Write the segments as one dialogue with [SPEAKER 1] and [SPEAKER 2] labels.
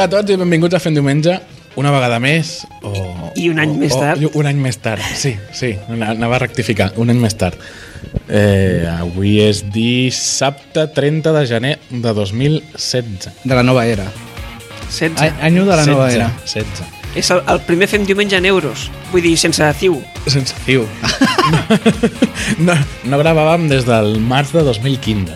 [SPEAKER 1] a tots i benvinguts a Fent Diumenge una vegada més o...
[SPEAKER 2] I un any
[SPEAKER 1] o-
[SPEAKER 2] més
[SPEAKER 1] o-
[SPEAKER 2] tard.
[SPEAKER 1] un any més tard, sí, sí, ana- anava a rectificar, un any més tard. Eh, avui és dissabte 30 de gener de 2016.
[SPEAKER 3] De la nova era.
[SPEAKER 2] 16.
[SPEAKER 3] A- Anyo de la nova era.
[SPEAKER 1] 16.
[SPEAKER 2] És el, el primer fem diumenge en euros. Vull dir, sense ciu.
[SPEAKER 1] Sense fiu. No, no gravàvem des del març de 2015.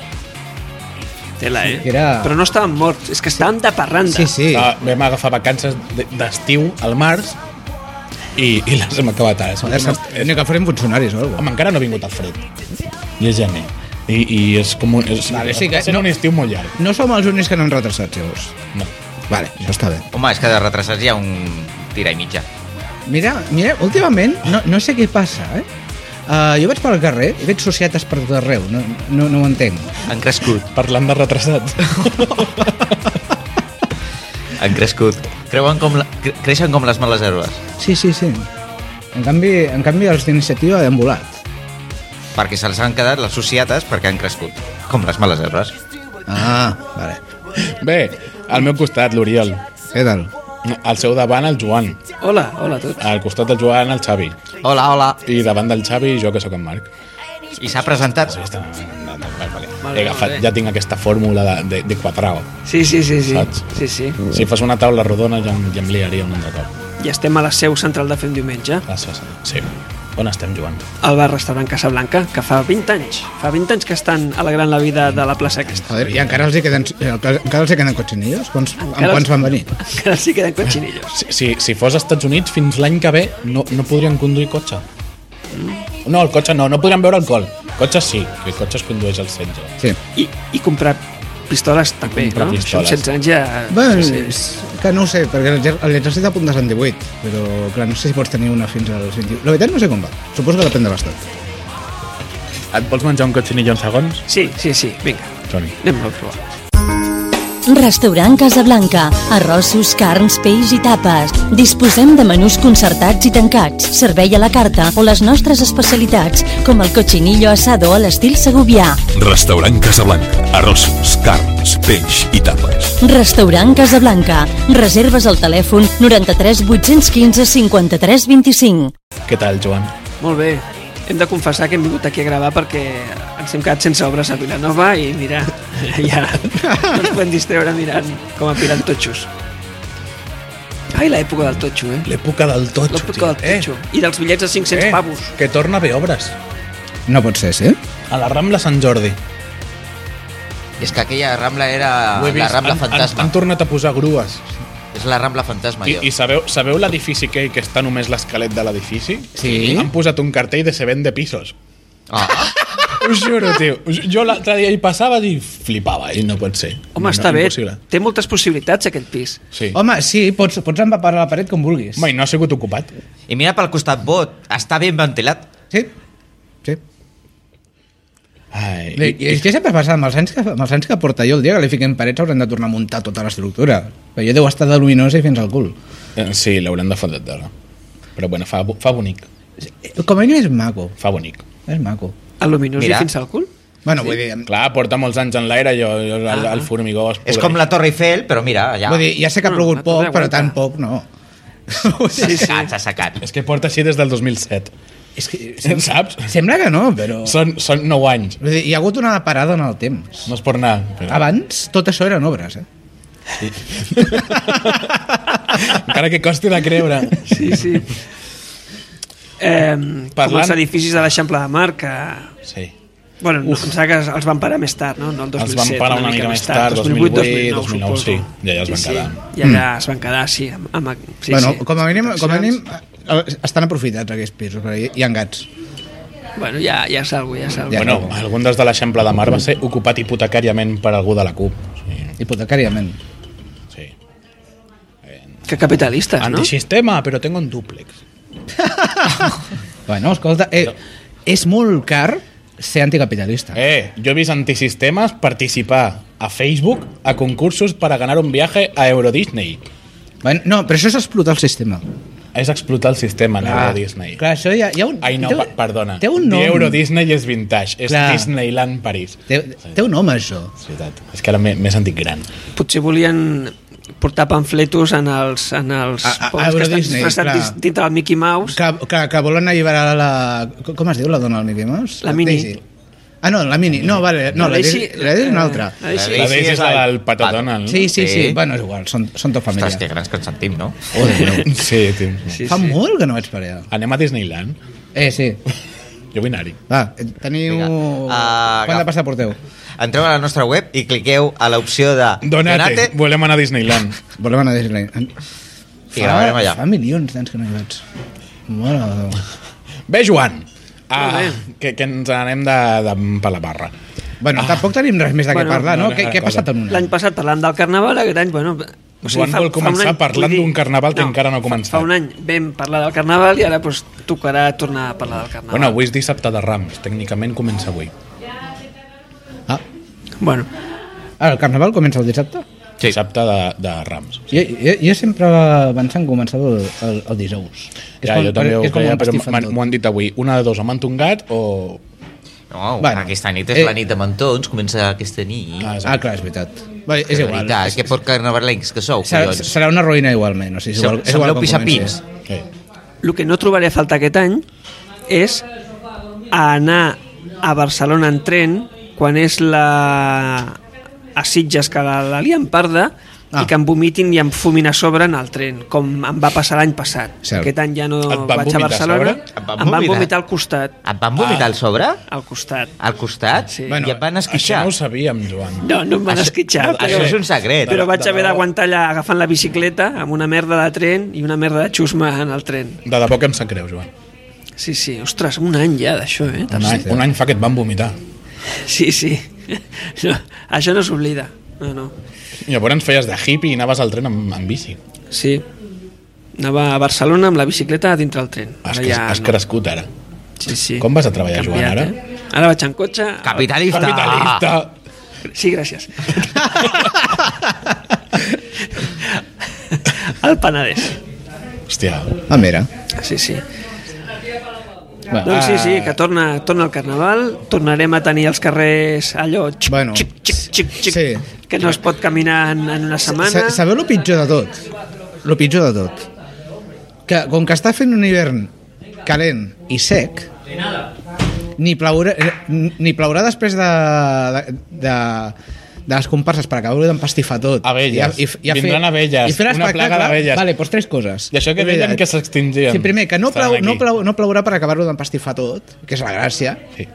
[SPEAKER 2] Tela, eh?
[SPEAKER 3] que era-
[SPEAKER 2] Però no estàvem morts, és que estàvem de parranda.
[SPEAKER 3] Sí, sí.
[SPEAKER 1] Ah, vam agafar vacances de- d'estiu al març i, i les hem acabat ara.
[SPEAKER 3] Joder, que- ni que farem funcionaris o alguna
[SPEAKER 1] Home, encara no ha vingut el fred. I és gener. I, i és com un, és,
[SPEAKER 3] Vale, sí que-
[SPEAKER 1] és un estiu molt llarg.
[SPEAKER 3] No som els únics que no han retrasat, llavors.
[SPEAKER 1] No.
[SPEAKER 3] Vale, això està bé.
[SPEAKER 4] Home, és que de retrasats hi ha un tira i mitja.
[SPEAKER 3] Mira, mira últimament, no, no sé què passa, eh? Uh, jo vaig pel carrer i veig societes per tot arreu, no, no, no ho entenc.
[SPEAKER 4] Han crescut,
[SPEAKER 1] Parlant de retrasats.
[SPEAKER 4] han crescut. Creuen com la, cre- creixen com les males herbes,
[SPEAKER 3] Sí, sí, sí. En canvi, en canvi els d'iniciativa han volat.
[SPEAKER 4] perquè se'ls han quedat les societes perquè han crescut, com les males herbes.
[SPEAKER 3] Ah, vale.
[SPEAKER 1] Bé, al meu costat, l'Oriol.
[SPEAKER 3] Què tal?
[SPEAKER 1] Al seu davant, el Joan.
[SPEAKER 2] Hola, hola a tots.
[SPEAKER 1] Al costat del Joan, el Xavi.
[SPEAKER 4] Hola, hola.
[SPEAKER 1] I davant del Xavi, jo, que sóc en Marc.
[SPEAKER 4] I s'ha presentat.
[SPEAKER 1] Ja està, no, no, no, vale. He
[SPEAKER 2] Molt bé,
[SPEAKER 1] agafat,
[SPEAKER 2] molt bé.
[SPEAKER 1] ja tinc aquesta fórmula de, de, de quadrado.
[SPEAKER 2] Sí, sí, sí, sí.
[SPEAKER 1] Saps?
[SPEAKER 2] Sí, sí.
[SPEAKER 1] Si fos una taula rodona ja, em- ja em liaria un altre cop.
[SPEAKER 2] I estem a la seu central de fem diumenge,
[SPEAKER 1] Gràcies. Sí. On estem, Joan?
[SPEAKER 2] al bar-restaurant Casablanca, que fa 20 anys. Fa 20 anys que estan alegrant la vida de la plaça aquesta.
[SPEAKER 3] Joder, i encara els hi queden, encara els hi queden cotxinillos? Quants, en
[SPEAKER 2] Encara-
[SPEAKER 3] quants van venir?
[SPEAKER 2] Encara s'hi queden cotxinillos.
[SPEAKER 1] Si, si, si fos als Estats Units, fins l'any que ve no, no podrien conduir cotxe. Mm. No, el cotxe no, no podrien beure alcohol. Cotxe sí, que el cotxe es condueix al 16.
[SPEAKER 3] Sí.
[SPEAKER 2] I, i comprar pistoles també,
[SPEAKER 1] Comprar
[SPEAKER 2] no?
[SPEAKER 1] pistoles.
[SPEAKER 2] Això amb 16 anys ja...
[SPEAKER 3] Bé,
[SPEAKER 2] sí, sí.
[SPEAKER 3] és que no ho sé, perquè el ger- l'exèrcit apuntes en 18, però clar, no sé si pots tenir una fins als 21. La veritat no sé com va, suposo que depèn de l'estat.
[SPEAKER 1] Et vols menjar un cotxinillo en segons?
[SPEAKER 2] sí, sí, sí, vinga,
[SPEAKER 1] Toni.
[SPEAKER 2] anem a provar.
[SPEAKER 5] Restaurant Casablanca. Arrossos, carns, peix i tapes. Disposem de menús concertats i tancats, servei a la carta o les nostres especialitats, com el cochinillo asado a l'estil segubià.
[SPEAKER 6] Restaurant Casablanca. Arrossos, carns, peix i tapes.
[SPEAKER 5] Restaurant Casablanca. Reserves al telèfon 93 815 53 25.
[SPEAKER 1] Què tal, Joan?
[SPEAKER 2] Molt bé. Hem de confessar que hem vingut aquí a gravar perquè ens hem quedat sense obres a Vilanova i mira, ja no ens podem distreure mirant com a pirant totxos. Ai, l'època del totxo, eh?
[SPEAKER 1] L'època del totxo, Eh?
[SPEAKER 2] L'època del totxo. I dels bitllets de 500 pavos.
[SPEAKER 1] que torna a haver obres.
[SPEAKER 3] No pot ser, sí?
[SPEAKER 1] A la Rambla Sant Jordi.
[SPEAKER 4] És que aquella Rambla era
[SPEAKER 1] Ho he
[SPEAKER 4] Ah, la
[SPEAKER 1] vist.
[SPEAKER 4] Rambla
[SPEAKER 1] Han-
[SPEAKER 4] Fantasma.
[SPEAKER 1] Han, han tornat a posar grues.
[SPEAKER 4] És la Rambla Fantasma,
[SPEAKER 1] I,
[SPEAKER 4] jo.
[SPEAKER 1] i sabeu, sabeu l'edifici que, que està només l'esquelet de l'edifici?
[SPEAKER 3] Sí.
[SPEAKER 1] Han posat un cartell de se vende pisos.
[SPEAKER 4] Ah,
[SPEAKER 1] Us juro, tio. Us- Jo l'altre dia hi passava i flipava. I no pot ser.
[SPEAKER 2] Home,
[SPEAKER 1] no,
[SPEAKER 2] està bé.
[SPEAKER 1] impossible.
[SPEAKER 2] Té moltes possibilitats, aquest pis.
[SPEAKER 1] Sí. Home,
[SPEAKER 3] Home, sí, pots, pots empapar a la paret com vulguis.
[SPEAKER 1] i no ha sigut ocupat.
[SPEAKER 4] I mira pel costat bot, està ben ventilat.
[SPEAKER 3] Sí, sí.
[SPEAKER 1] Ai,
[SPEAKER 3] I,
[SPEAKER 1] i,
[SPEAKER 3] és que sempre passa, amb els, anys que, amb els anys que porta jo el dia que li fiquen parets hauran de tornar a muntar tota l'estructura. Però jo deu estar de luminosa i fins al cul.
[SPEAKER 1] eh, sí, l'hauran de fotre d'hora. Però bueno, fa, bo- fa bonic.
[SPEAKER 3] Com a mínim és maco,
[SPEAKER 1] Fa bonic.
[SPEAKER 3] és maco.
[SPEAKER 2] El luminós i
[SPEAKER 4] Mira.
[SPEAKER 2] fins al cul.
[SPEAKER 3] Bueno, sí. vull dir,
[SPEAKER 1] Clar, porta molts anys en l'aire, jo, jo ah. el, el formigó... Es
[SPEAKER 4] És com la Torre Eiffel, però mira, allà
[SPEAKER 3] vull dir, ja sé que ha
[SPEAKER 2] No,
[SPEAKER 3] plogut
[SPEAKER 2] no
[SPEAKER 3] poc, però
[SPEAKER 2] t'aguanta.
[SPEAKER 3] tan poc no.
[SPEAKER 4] s'ha
[SPEAKER 2] Sí, sí.
[SPEAKER 4] secat, s'ha secat.
[SPEAKER 1] És que porta així des del 2007.
[SPEAKER 3] És que,
[SPEAKER 1] Saps?
[SPEAKER 3] sembla que no, però...
[SPEAKER 1] Són, són 9 anys.
[SPEAKER 3] Vull dir, hi ha hagut una parada en el temps.
[SPEAKER 1] No es pot anar. Però...
[SPEAKER 3] Abans tot això eren obres, eh?
[SPEAKER 1] Encara que costi de creure.
[SPEAKER 2] Sí, sí. Eh, com
[SPEAKER 1] Parlant-
[SPEAKER 2] els edificis de l'Eixample de Mar, que...
[SPEAKER 1] Sí.
[SPEAKER 2] Bueno, no, em sembla que els- els van parar més tard, no? no el 2007,
[SPEAKER 1] Els van parar una mica més tard,
[SPEAKER 2] 2008,
[SPEAKER 1] 2008,
[SPEAKER 2] 2009,
[SPEAKER 1] 2009,
[SPEAKER 2] suposo.
[SPEAKER 1] sí. Ja, ja es van quedar. Mm.
[SPEAKER 2] Sí. I allà es van quedar, sí. Amb, amb, sí,
[SPEAKER 3] Sí, bueno,
[SPEAKER 2] sí.
[SPEAKER 3] sí. com a mínim, com a mínim eh, estan aprofitats aquests pisos, perquè hi, hi ha gats.
[SPEAKER 2] Bueno, ja, ja és algo, ja és algo.
[SPEAKER 3] Ja.
[SPEAKER 1] Bueno, algun dels de l'Eixample de Mar va ser ocupat hipotecàriament per algú de la CUP. Sí,
[SPEAKER 3] Hipotecàriament.
[SPEAKER 1] sí.
[SPEAKER 2] Que
[SPEAKER 1] Ah,
[SPEAKER 2] capitalistes, no?
[SPEAKER 1] Antisistema, però tengo un dúplex.
[SPEAKER 3] Bueno, escolta, eh, és molt car ser anticapitalista. Eh.
[SPEAKER 1] Eh, yo he visto antisistemas participar a Facebook a concursos para ganar un viaje a Euro Disney.
[SPEAKER 3] Bueno, no, però això és explotar el sistema.
[SPEAKER 1] Es explotar el sistema en Euro Disney.
[SPEAKER 3] clar, això hi ha, hi ha un...
[SPEAKER 1] Ay, no,
[SPEAKER 3] té-
[SPEAKER 1] pa- perdona.
[SPEAKER 3] Té un
[SPEAKER 1] Dir
[SPEAKER 3] nom.
[SPEAKER 1] Euro Disney es vintage, es
[SPEAKER 3] Clar.
[SPEAKER 1] Disneyland París.
[SPEAKER 3] Té, té un nom, això.
[SPEAKER 1] Es que ahora me, me sentí gran.
[SPEAKER 2] Potser volien portar pamfletos en els, en els
[SPEAKER 3] A- a- a
[SPEAKER 2] pobres
[SPEAKER 3] Euro
[SPEAKER 2] que estan
[SPEAKER 3] Disney, clar.
[SPEAKER 2] disfressats dins del Mickey Mouse.
[SPEAKER 3] Que, que, que volen alliberar la... com- Com es diu la dona del Mickey Mouse?
[SPEAKER 2] La Minnie.
[SPEAKER 3] Daisy. Ah, no, la Mini. No, vale. No, la, Daisy, la Daisy és una altra.
[SPEAKER 2] eh, La Daisy,
[SPEAKER 1] La Daisy és la del Pato
[SPEAKER 4] Pato.
[SPEAKER 1] Donald.
[SPEAKER 3] Sí, sí, sí.
[SPEAKER 4] Sí.
[SPEAKER 3] Bueno, és igual, són, són tot família.
[SPEAKER 4] Ostres, que grans que ens sentim, no?
[SPEAKER 1] Oh, no? Sí, tio.
[SPEAKER 2] sí,
[SPEAKER 3] Fa
[SPEAKER 2] sí.
[SPEAKER 3] molt que no vaig per allà.
[SPEAKER 1] Anem a Disneyland.
[SPEAKER 3] Eh, sí.
[SPEAKER 1] Jo vull anar-hi.
[SPEAKER 3] Va, eh, teniu...
[SPEAKER 4] Vinga. Ah,
[SPEAKER 3] Quant
[SPEAKER 4] agaf-
[SPEAKER 3] de pasta porteu?
[SPEAKER 4] Entreu a la nostra web i cliqueu a l'opció de
[SPEAKER 1] Donate. Volem anar a Disneyland.
[SPEAKER 3] Volem anar a Disneyland.
[SPEAKER 4] i gravarem allà.
[SPEAKER 3] Fa milions d'anys que no hi vaig. Mare de Déu.
[SPEAKER 1] Ve, Joan! Ah,
[SPEAKER 2] Molt
[SPEAKER 1] que, que ens anem de, de per la barra.
[SPEAKER 3] Bueno, tampoc tenim res més de què
[SPEAKER 2] Bueno,
[SPEAKER 3] parlar, no?
[SPEAKER 1] no,
[SPEAKER 3] Què,
[SPEAKER 1] no,
[SPEAKER 3] què ha
[SPEAKER 1] cosa.
[SPEAKER 3] passat en un
[SPEAKER 2] L'any
[SPEAKER 3] any?
[SPEAKER 2] passat parlant del carnaval, aquest any, bueno... O
[SPEAKER 1] Joan vol començar parlant
[SPEAKER 2] vull dir-
[SPEAKER 1] d'un carnaval que encara no ha
[SPEAKER 2] fa-
[SPEAKER 1] començat.
[SPEAKER 2] Fa un any vam parlar del carnaval i ara pues, tocarà tornar a parlar del carnaval.
[SPEAKER 1] Bueno, avui és dissabte de Rams. Tècnicament comença avui.
[SPEAKER 3] Ah,
[SPEAKER 2] bueno
[SPEAKER 3] ara, Ah, el carnaval comença el dissabte?
[SPEAKER 1] Sí. Dissabte de, de Rams.
[SPEAKER 3] Jo, jo, jo sempre pensant començar el, el, el dijous. És
[SPEAKER 1] Ja,
[SPEAKER 3] com-
[SPEAKER 1] jo també ho
[SPEAKER 3] és com
[SPEAKER 1] creia,
[SPEAKER 3] un
[SPEAKER 1] però
[SPEAKER 3] pastifan
[SPEAKER 1] m'han-
[SPEAKER 3] tot.
[SPEAKER 1] m'ho han dit avui. Una de dos, o m'han tungat o...
[SPEAKER 4] No,
[SPEAKER 3] Bueno,
[SPEAKER 4] bueno, aquesta nit és
[SPEAKER 3] eh.
[SPEAKER 4] eh, la nit de mentons, comença aquesta nit.
[SPEAKER 1] Ah,
[SPEAKER 3] Ah, clar, és veritat. Bé,
[SPEAKER 4] és
[SPEAKER 3] és igual.
[SPEAKER 4] Veritat, que porc carnavalencs que sou,
[SPEAKER 3] Serà,
[SPEAKER 4] collons.
[SPEAKER 3] serà una ruïna igualment. O sigui, és
[SPEAKER 4] Sem-
[SPEAKER 3] igual, és
[SPEAKER 4] sembleu
[SPEAKER 3] igual com
[SPEAKER 4] pixapins.
[SPEAKER 3] comenci.
[SPEAKER 1] Sí.
[SPEAKER 2] el que no trobaré a falta aquest any és anar a Barcelona en tren quan és la a Sitges que la, la lien parda ah.
[SPEAKER 3] Ah.
[SPEAKER 2] i que em vomitin i em fumin a sobre en el tren, com em va passar l'any passat.
[SPEAKER 3] Cert.
[SPEAKER 2] Aquest any ja no
[SPEAKER 1] Et van
[SPEAKER 2] vaig a
[SPEAKER 1] vomitar a
[SPEAKER 2] Barcelona.
[SPEAKER 1] sobre?
[SPEAKER 4] Et van
[SPEAKER 2] Em van
[SPEAKER 4] vomitar?
[SPEAKER 2] vomitar al costat.
[SPEAKER 4] Et van vomitar al sobre?
[SPEAKER 2] Al costat.
[SPEAKER 4] Al costat?
[SPEAKER 2] Sí.
[SPEAKER 4] Bueno, I et van esquitxar?
[SPEAKER 1] Això no ho sabíem, Joan.
[SPEAKER 2] No, no em van
[SPEAKER 4] Això-
[SPEAKER 2] esquitxar.
[SPEAKER 4] Això és un secret.
[SPEAKER 2] Però vaig
[SPEAKER 1] de
[SPEAKER 2] haver
[SPEAKER 1] debò.
[SPEAKER 2] d'aguantar allà agafant la bicicleta amb una merda de tren i una merda de xusma en el tren.
[SPEAKER 1] De debò que em sap greu, Joan.
[SPEAKER 2] Sí, sí. Ostres, un any ja d'això, eh?
[SPEAKER 3] Ah,
[SPEAKER 1] Un any, un any fa que et van vomitar.
[SPEAKER 2] Sí, sí. No, això no s'oblida. No, no.
[SPEAKER 1] I llavors ens feies de hippie i anaves al tren amb, amb bici.
[SPEAKER 2] Sí. Anava a Barcelona amb la bicicleta a dintre el tren.
[SPEAKER 1] Has,
[SPEAKER 2] Ara
[SPEAKER 1] cres, has
[SPEAKER 2] no.
[SPEAKER 1] crescut ara.
[SPEAKER 2] Sí, sí.
[SPEAKER 1] Com vas a treballar, Joan, ara?
[SPEAKER 2] Eh? Ara vaig en cotxe.
[SPEAKER 4] Capitalista.
[SPEAKER 1] Capitalista!
[SPEAKER 2] Sí, gràcies. Al Penedès.
[SPEAKER 1] Hòstia.
[SPEAKER 3] Ah, mira.
[SPEAKER 2] Sí, sí.
[SPEAKER 3] Bueno,
[SPEAKER 2] Doncs sí, sí,
[SPEAKER 3] ah,
[SPEAKER 2] que torna, torna el carnaval, tornarem a tenir els carrers allò, xic,
[SPEAKER 3] Bueno,
[SPEAKER 2] xic, xic, xic, xic,
[SPEAKER 3] sí.
[SPEAKER 2] que no es pot caminar en, en una setmana.
[SPEAKER 3] sa- Sabeu el pitjor de tot? El pitjor de tot. Que com que està fent un hivern calent i sec, ni plaurà, eh, ni plaurà després de, de, de, de les comparses per acabar d'empastifar tot.
[SPEAKER 1] Abelles. Vindran abelles.
[SPEAKER 3] I fer
[SPEAKER 1] Una
[SPEAKER 3] l'espectacle-
[SPEAKER 1] plaga d'abelles.
[SPEAKER 3] Vale, doncs tres coses.
[SPEAKER 1] I això que deien que s'extingien.
[SPEAKER 3] Sí, primer, que no,
[SPEAKER 1] Estaran
[SPEAKER 3] plau,
[SPEAKER 1] aquí.
[SPEAKER 3] no, plau, no plaurà per acabar-ho d'empastifar tot, que és la gràcia.
[SPEAKER 1] Sí.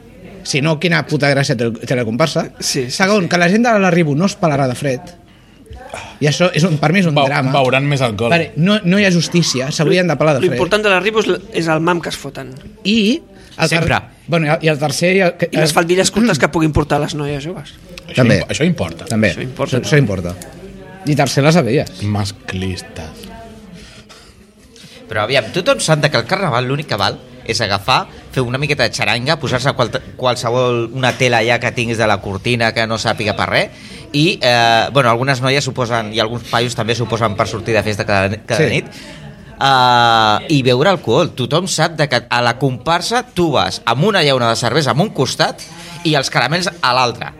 [SPEAKER 3] Si no, quina puta gràcia té, té la comparsa.
[SPEAKER 2] Sí, sí,
[SPEAKER 3] Segon, que la gent de la Ribu no es pelarà de fred. I això, és un, per mi, és un
[SPEAKER 1] Beu,
[SPEAKER 3] drama.
[SPEAKER 1] beuran més alcohol.
[SPEAKER 3] Vale, no, no hi ha justícia, s'haurien de pelar de fred.
[SPEAKER 2] L'important de la Ribos és el mam que es foten.
[SPEAKER 3] I... El ter-
[SPEAKER 4] Sempre.
[SPEAKER 3] Bueno, i el- i el tercer... I el, que, eh,
[SPEAKER 2] I les faldilles curtes que puguin portar les noies joves.
[SPEAKER 1] Això,
[SPEAKER 3] També.
[SPEAKER 1] imp- això importa.
[SPEAKER 3] També,
[SPEAKER 2] Això importa,
[SPEAKER 3] Això, això importa. I tercer, les abelles.
[SPEAKER 1] Masclistes.
[SPEAKER 4] Però aviam, tothom sap que el carnaval l'únic que val és agafar, fer una miqueta de xaranga, posar-se qual, qualsevol una tela ja que tinguis de la cortina que no sàpiga per res, i eh, bueno, algunes noies s'ho posen, i alguns paios també s'ho posen per sortir de festa cada, cada
[SPEAKER 3] Sí.
[SPEAKER 4] sí. nit, Uh, i beure alcohol. Tothom sap de que a la comparsa tu vas amb una llauna de cervesa amb un costat i els caramels a l'altre.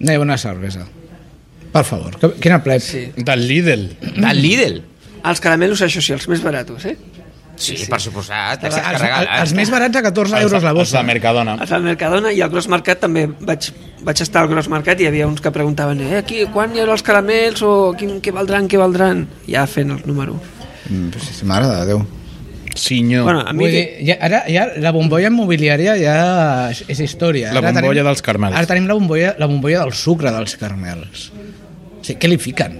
[SPEAKER 3] No hi ha una cervesa. Per favor, que, quina pleb.
[SPEAKER 2] Sí.
[SPEAKER 1] Del Lidl.
[SPEAKER 4] Del Lidl.
[SPEAKER 2] Els caramelos, això sí, els més baratos, eh?
[SPEAKER 4] Sí, per suposat. eh?
[SPEAKER 3] Els,
[SPEAKER 4] Els,
[SPEAKER 3] els, els,
[SPEAKER 4] regalen.
[SPEAKER 3] els més barats a 14
[SPEAKER 1] Els-
[SPEAKER 3] euros la
[SPEAKER 1] Els
[SPEAKER 3] bossa.
[SPEAKER 1] de Mercadona.
[SPEAKER 2] Al Mercadona i al Gros Mercat també vaig, vaig estar al Gros Mercat i hi havia uns que preguntaven eh, aquí, quan hi haurà els caramels o quin, què valdran, què valdran? Ja fent el número.
[SPEAKER 3] Mm, sí, sí, Mare de Déu.
[SPEAKER 1] Sinyo.
[SPEAKER 2] Bueno, a mi...
[SPEAKER 3] Vull dir, ja, ara ja la bombolla immobiliària ja és, és història.
[SPEAKER 1] La
[SPEAKER 3] Ara
[SPEAKER 1] bombolla dels caramels.
[SPEAKER 3] Ara tenim la bombolla, la bombolla del sucre dels carmels. O sigui, què li fiquen?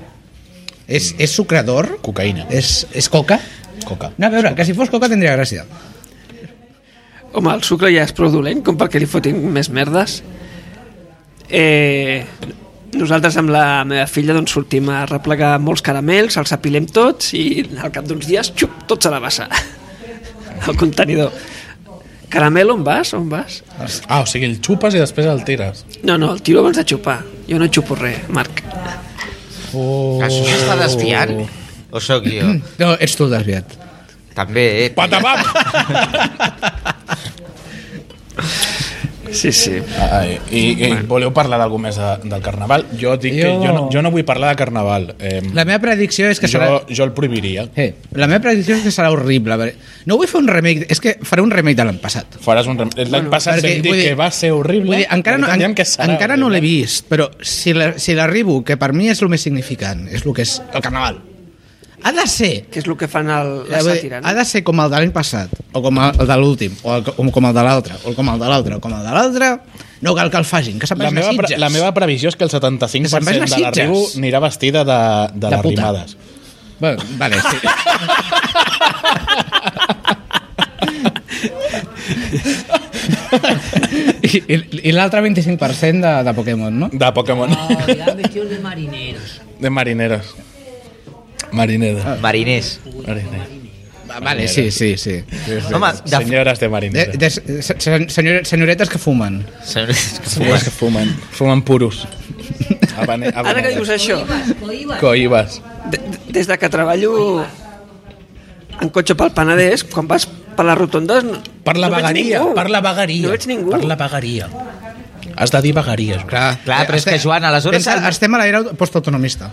[SPEAKER 3] És, és sucre d'or?
[SPEAKER 1] Mm. Cocaïna.
[SPEAKER 3] És, és coca?
[SPEAKER 1] Coca.
[SPEAKER 3] No, a veure, que si fos coca tindria gràcia.
[SPEAKER 2] Home, el sucre ja és prou dolent com perquè li fotin més merdes. Eh, nosaltres amb la meva filla doncs, sortim a replegar molts caramels, els apilem tots i al cap d'uns dies, xup, tots a la bassa. Al contenidor. Caramel, on vas? On vas?
[SPEAKER 1] Ah, o sigui, el xupes i després el tires.
[SPEAKER 2] No, no, el tiro abans de xupar. Jo no xupo res, Marc.
[SPEAKER 1] Oh.
[SPEAKER 4] Això s'està desviant? O sóc jo?
[SPEAKER 3] No, ets tu el desviat.
[SPEAKER 4] També, eh?
[SPEAKER 1] Patapap!
[SPEAKER 2] Sí, sí.
[SPEAKER 1] Ai, i, i voleu parlar d'algú més de, del carnaval? Jo dic jo... que
[SPEAKER 3] Jo-
[SPEAKER 1] jo no, jo no vull parlar de carnaval. Eh,
[SPEAKER 3] La meva predicció és que serà...
[SPEAKER 1] jo, jo el prohibiria.
[SPEAKER 3] Eh, la meva predicció és que serà horrible. perquè No vull fer un remake, és que faré un remake de l'any passat.
[SPEAKER 1] Faràs un rem... L'any passat
[SPEAKER 3] perquè,
[SPEAKER 1] vam dir
[SPEAKER 3] vull dir-
[SPEAKER 1] que va ser horrible.
[SPEAKER 3] Vull dir, encara no,
[SPEAKER 1] ara
[SPEAKER 3] en,
[SPEAKER 1] diem que serà
[SPEAKER 3] encara no l'he
[SPEAKER 1] horrible.
[SPEAKER 3] vist, però si la- si l'arribo, que per mi és el més significant, és el que és el carnaval, ha de ser eh,
[SPEAKER 2] Que és el que fan el, la
[SPEAKER 3] Vull dir,
[SPEAKER 2] sàtira,
[SPEAKER 3] Ha
[SPEAKER 2] no?
[SPEAKER 3] de ser com el de l'any passat, o com el de l'últim, o, el- o com el de l'altre, o com el de l'altre, o com el de l'altre. No cal que el facin, que se'n
[SPEAKER 1] La
[SPEAKER 3] vagin a
[SPEAKER 1] meva, pre-
[SPEAKER 3] Sitges.
[SPEAKER 1] la meva previsió és que el
[SPEAKER 3] Que se'n vagin a
[SPEAKER 1] 75% de
[SPEAKER 3] Sitges.
[SPEAKER 1] l'arribo anirà vestida de, de, de
[SPEAKER 3] De
[SPEAKER 1] les
[SPEAKER 3] puta.
[SPEAKER 1] rimades.
[SPEAKER 3] Bueno, vale, sí. I, i, i l'altre 25% de, de Pokémon, no?
[SPEAKER 1] De Pokémon.
[SPEAKER 7] No, irán vestidos de marineros.
[SPEAKER 1] De marineros. Marineros.
[SPEAKER 4] Mariners.
[SPEAKER 1] Marineros.
[SPEAKER 3] Va, Vale, sí, sí, sí.
[SPEAKER 4] Home, de-
[SPEAKER 1] Senyores de
[SPEAKER 3] De,
[SPEAKER 1] marineros.
[SPEAKER 3] de, Eh, se- se- senyor, senyoretes que fumen.
[SPEAKER 4] Senyores que
[SPEAKER 1] Fumen,
[SPEAKER 4] fumen.
[SPEAKER 1] que fumen. Fumen puros. Habane,
[SPEAKER 2] Ara que dius això,
[SPEAKER 7] Coibas.
[SPEAKER 1] Coibas.
[SPEAKER 2] de- de- des de que treballo en cotxe pel Penedès, quan vas per les rotondes... no-
[SPEAKER 8] Per la
[SPEAKER 2] no veig
[SPEAKER 8] vagaria,
[SPEAKER 2] ningú.
[SPEAKER 8] per la vagaria.
[SPEAKER 2] No veig ningú.
[SPEAKER 8] Per la vagaria. Has de dir vagaries.
[SPEAKER 3] Clar,
[SPEAKER 4] Clar, però és que, Joan, aleshores-
[SPEAKER 3] Pensa, estem a l'era postautonomista.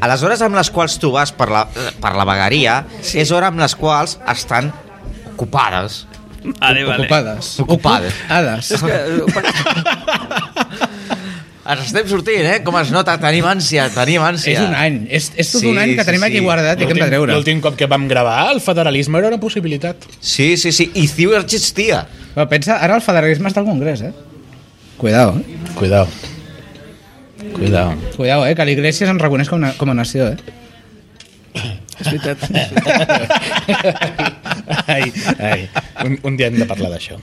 [SPEAKER 4] Aleshores, amb les quals tu vas per la, per la vegueria, sí. és hora amb les quals estan ocupades.
[SPEAKER 2] Eh, Vale, vale.
[SPEAKER 3] Ocupades.
[SPEAKER 4] Ocupades.
[SPEAKER 3] Hades.
[SPEAKER 2] És que, eh, quan,
[SPEAKER 4] Ens estem sortint, eh? Com es nota, tenim ànsia, tenim ànsia.
[SPEAKER 3] És un any, és, és tot sí,
[SPEAKER 4] Sí,
[SPEAKER 3] un any que
[SPEAKER 4] sí,
[SPEAKER 3] tenim
[SPEAKER 4] sí.
[SPEAKER 3] aquí guardat i que hem de treure.
[SPEAKER 1] L'últim cop que vam gravar, el federalisme era una possibilitat.
[SPEAKER 4] Sí, sí, sí. I Ciu existia.
[SPEAKER 3] Però pensa, ara el federalisme està al Congrés, eh? Cuidao, eh?
[SPEAKER 1] Cuidao. Cuidao.
[SPEAKER 3] Cuidao, eh? Que l'Iglesias ens reconeix com a, com a nació, eh?
[SPEAKER 2] és veritat.
[SPEAKER 1] ai, ai. Un, un dia hem de parlar d'això.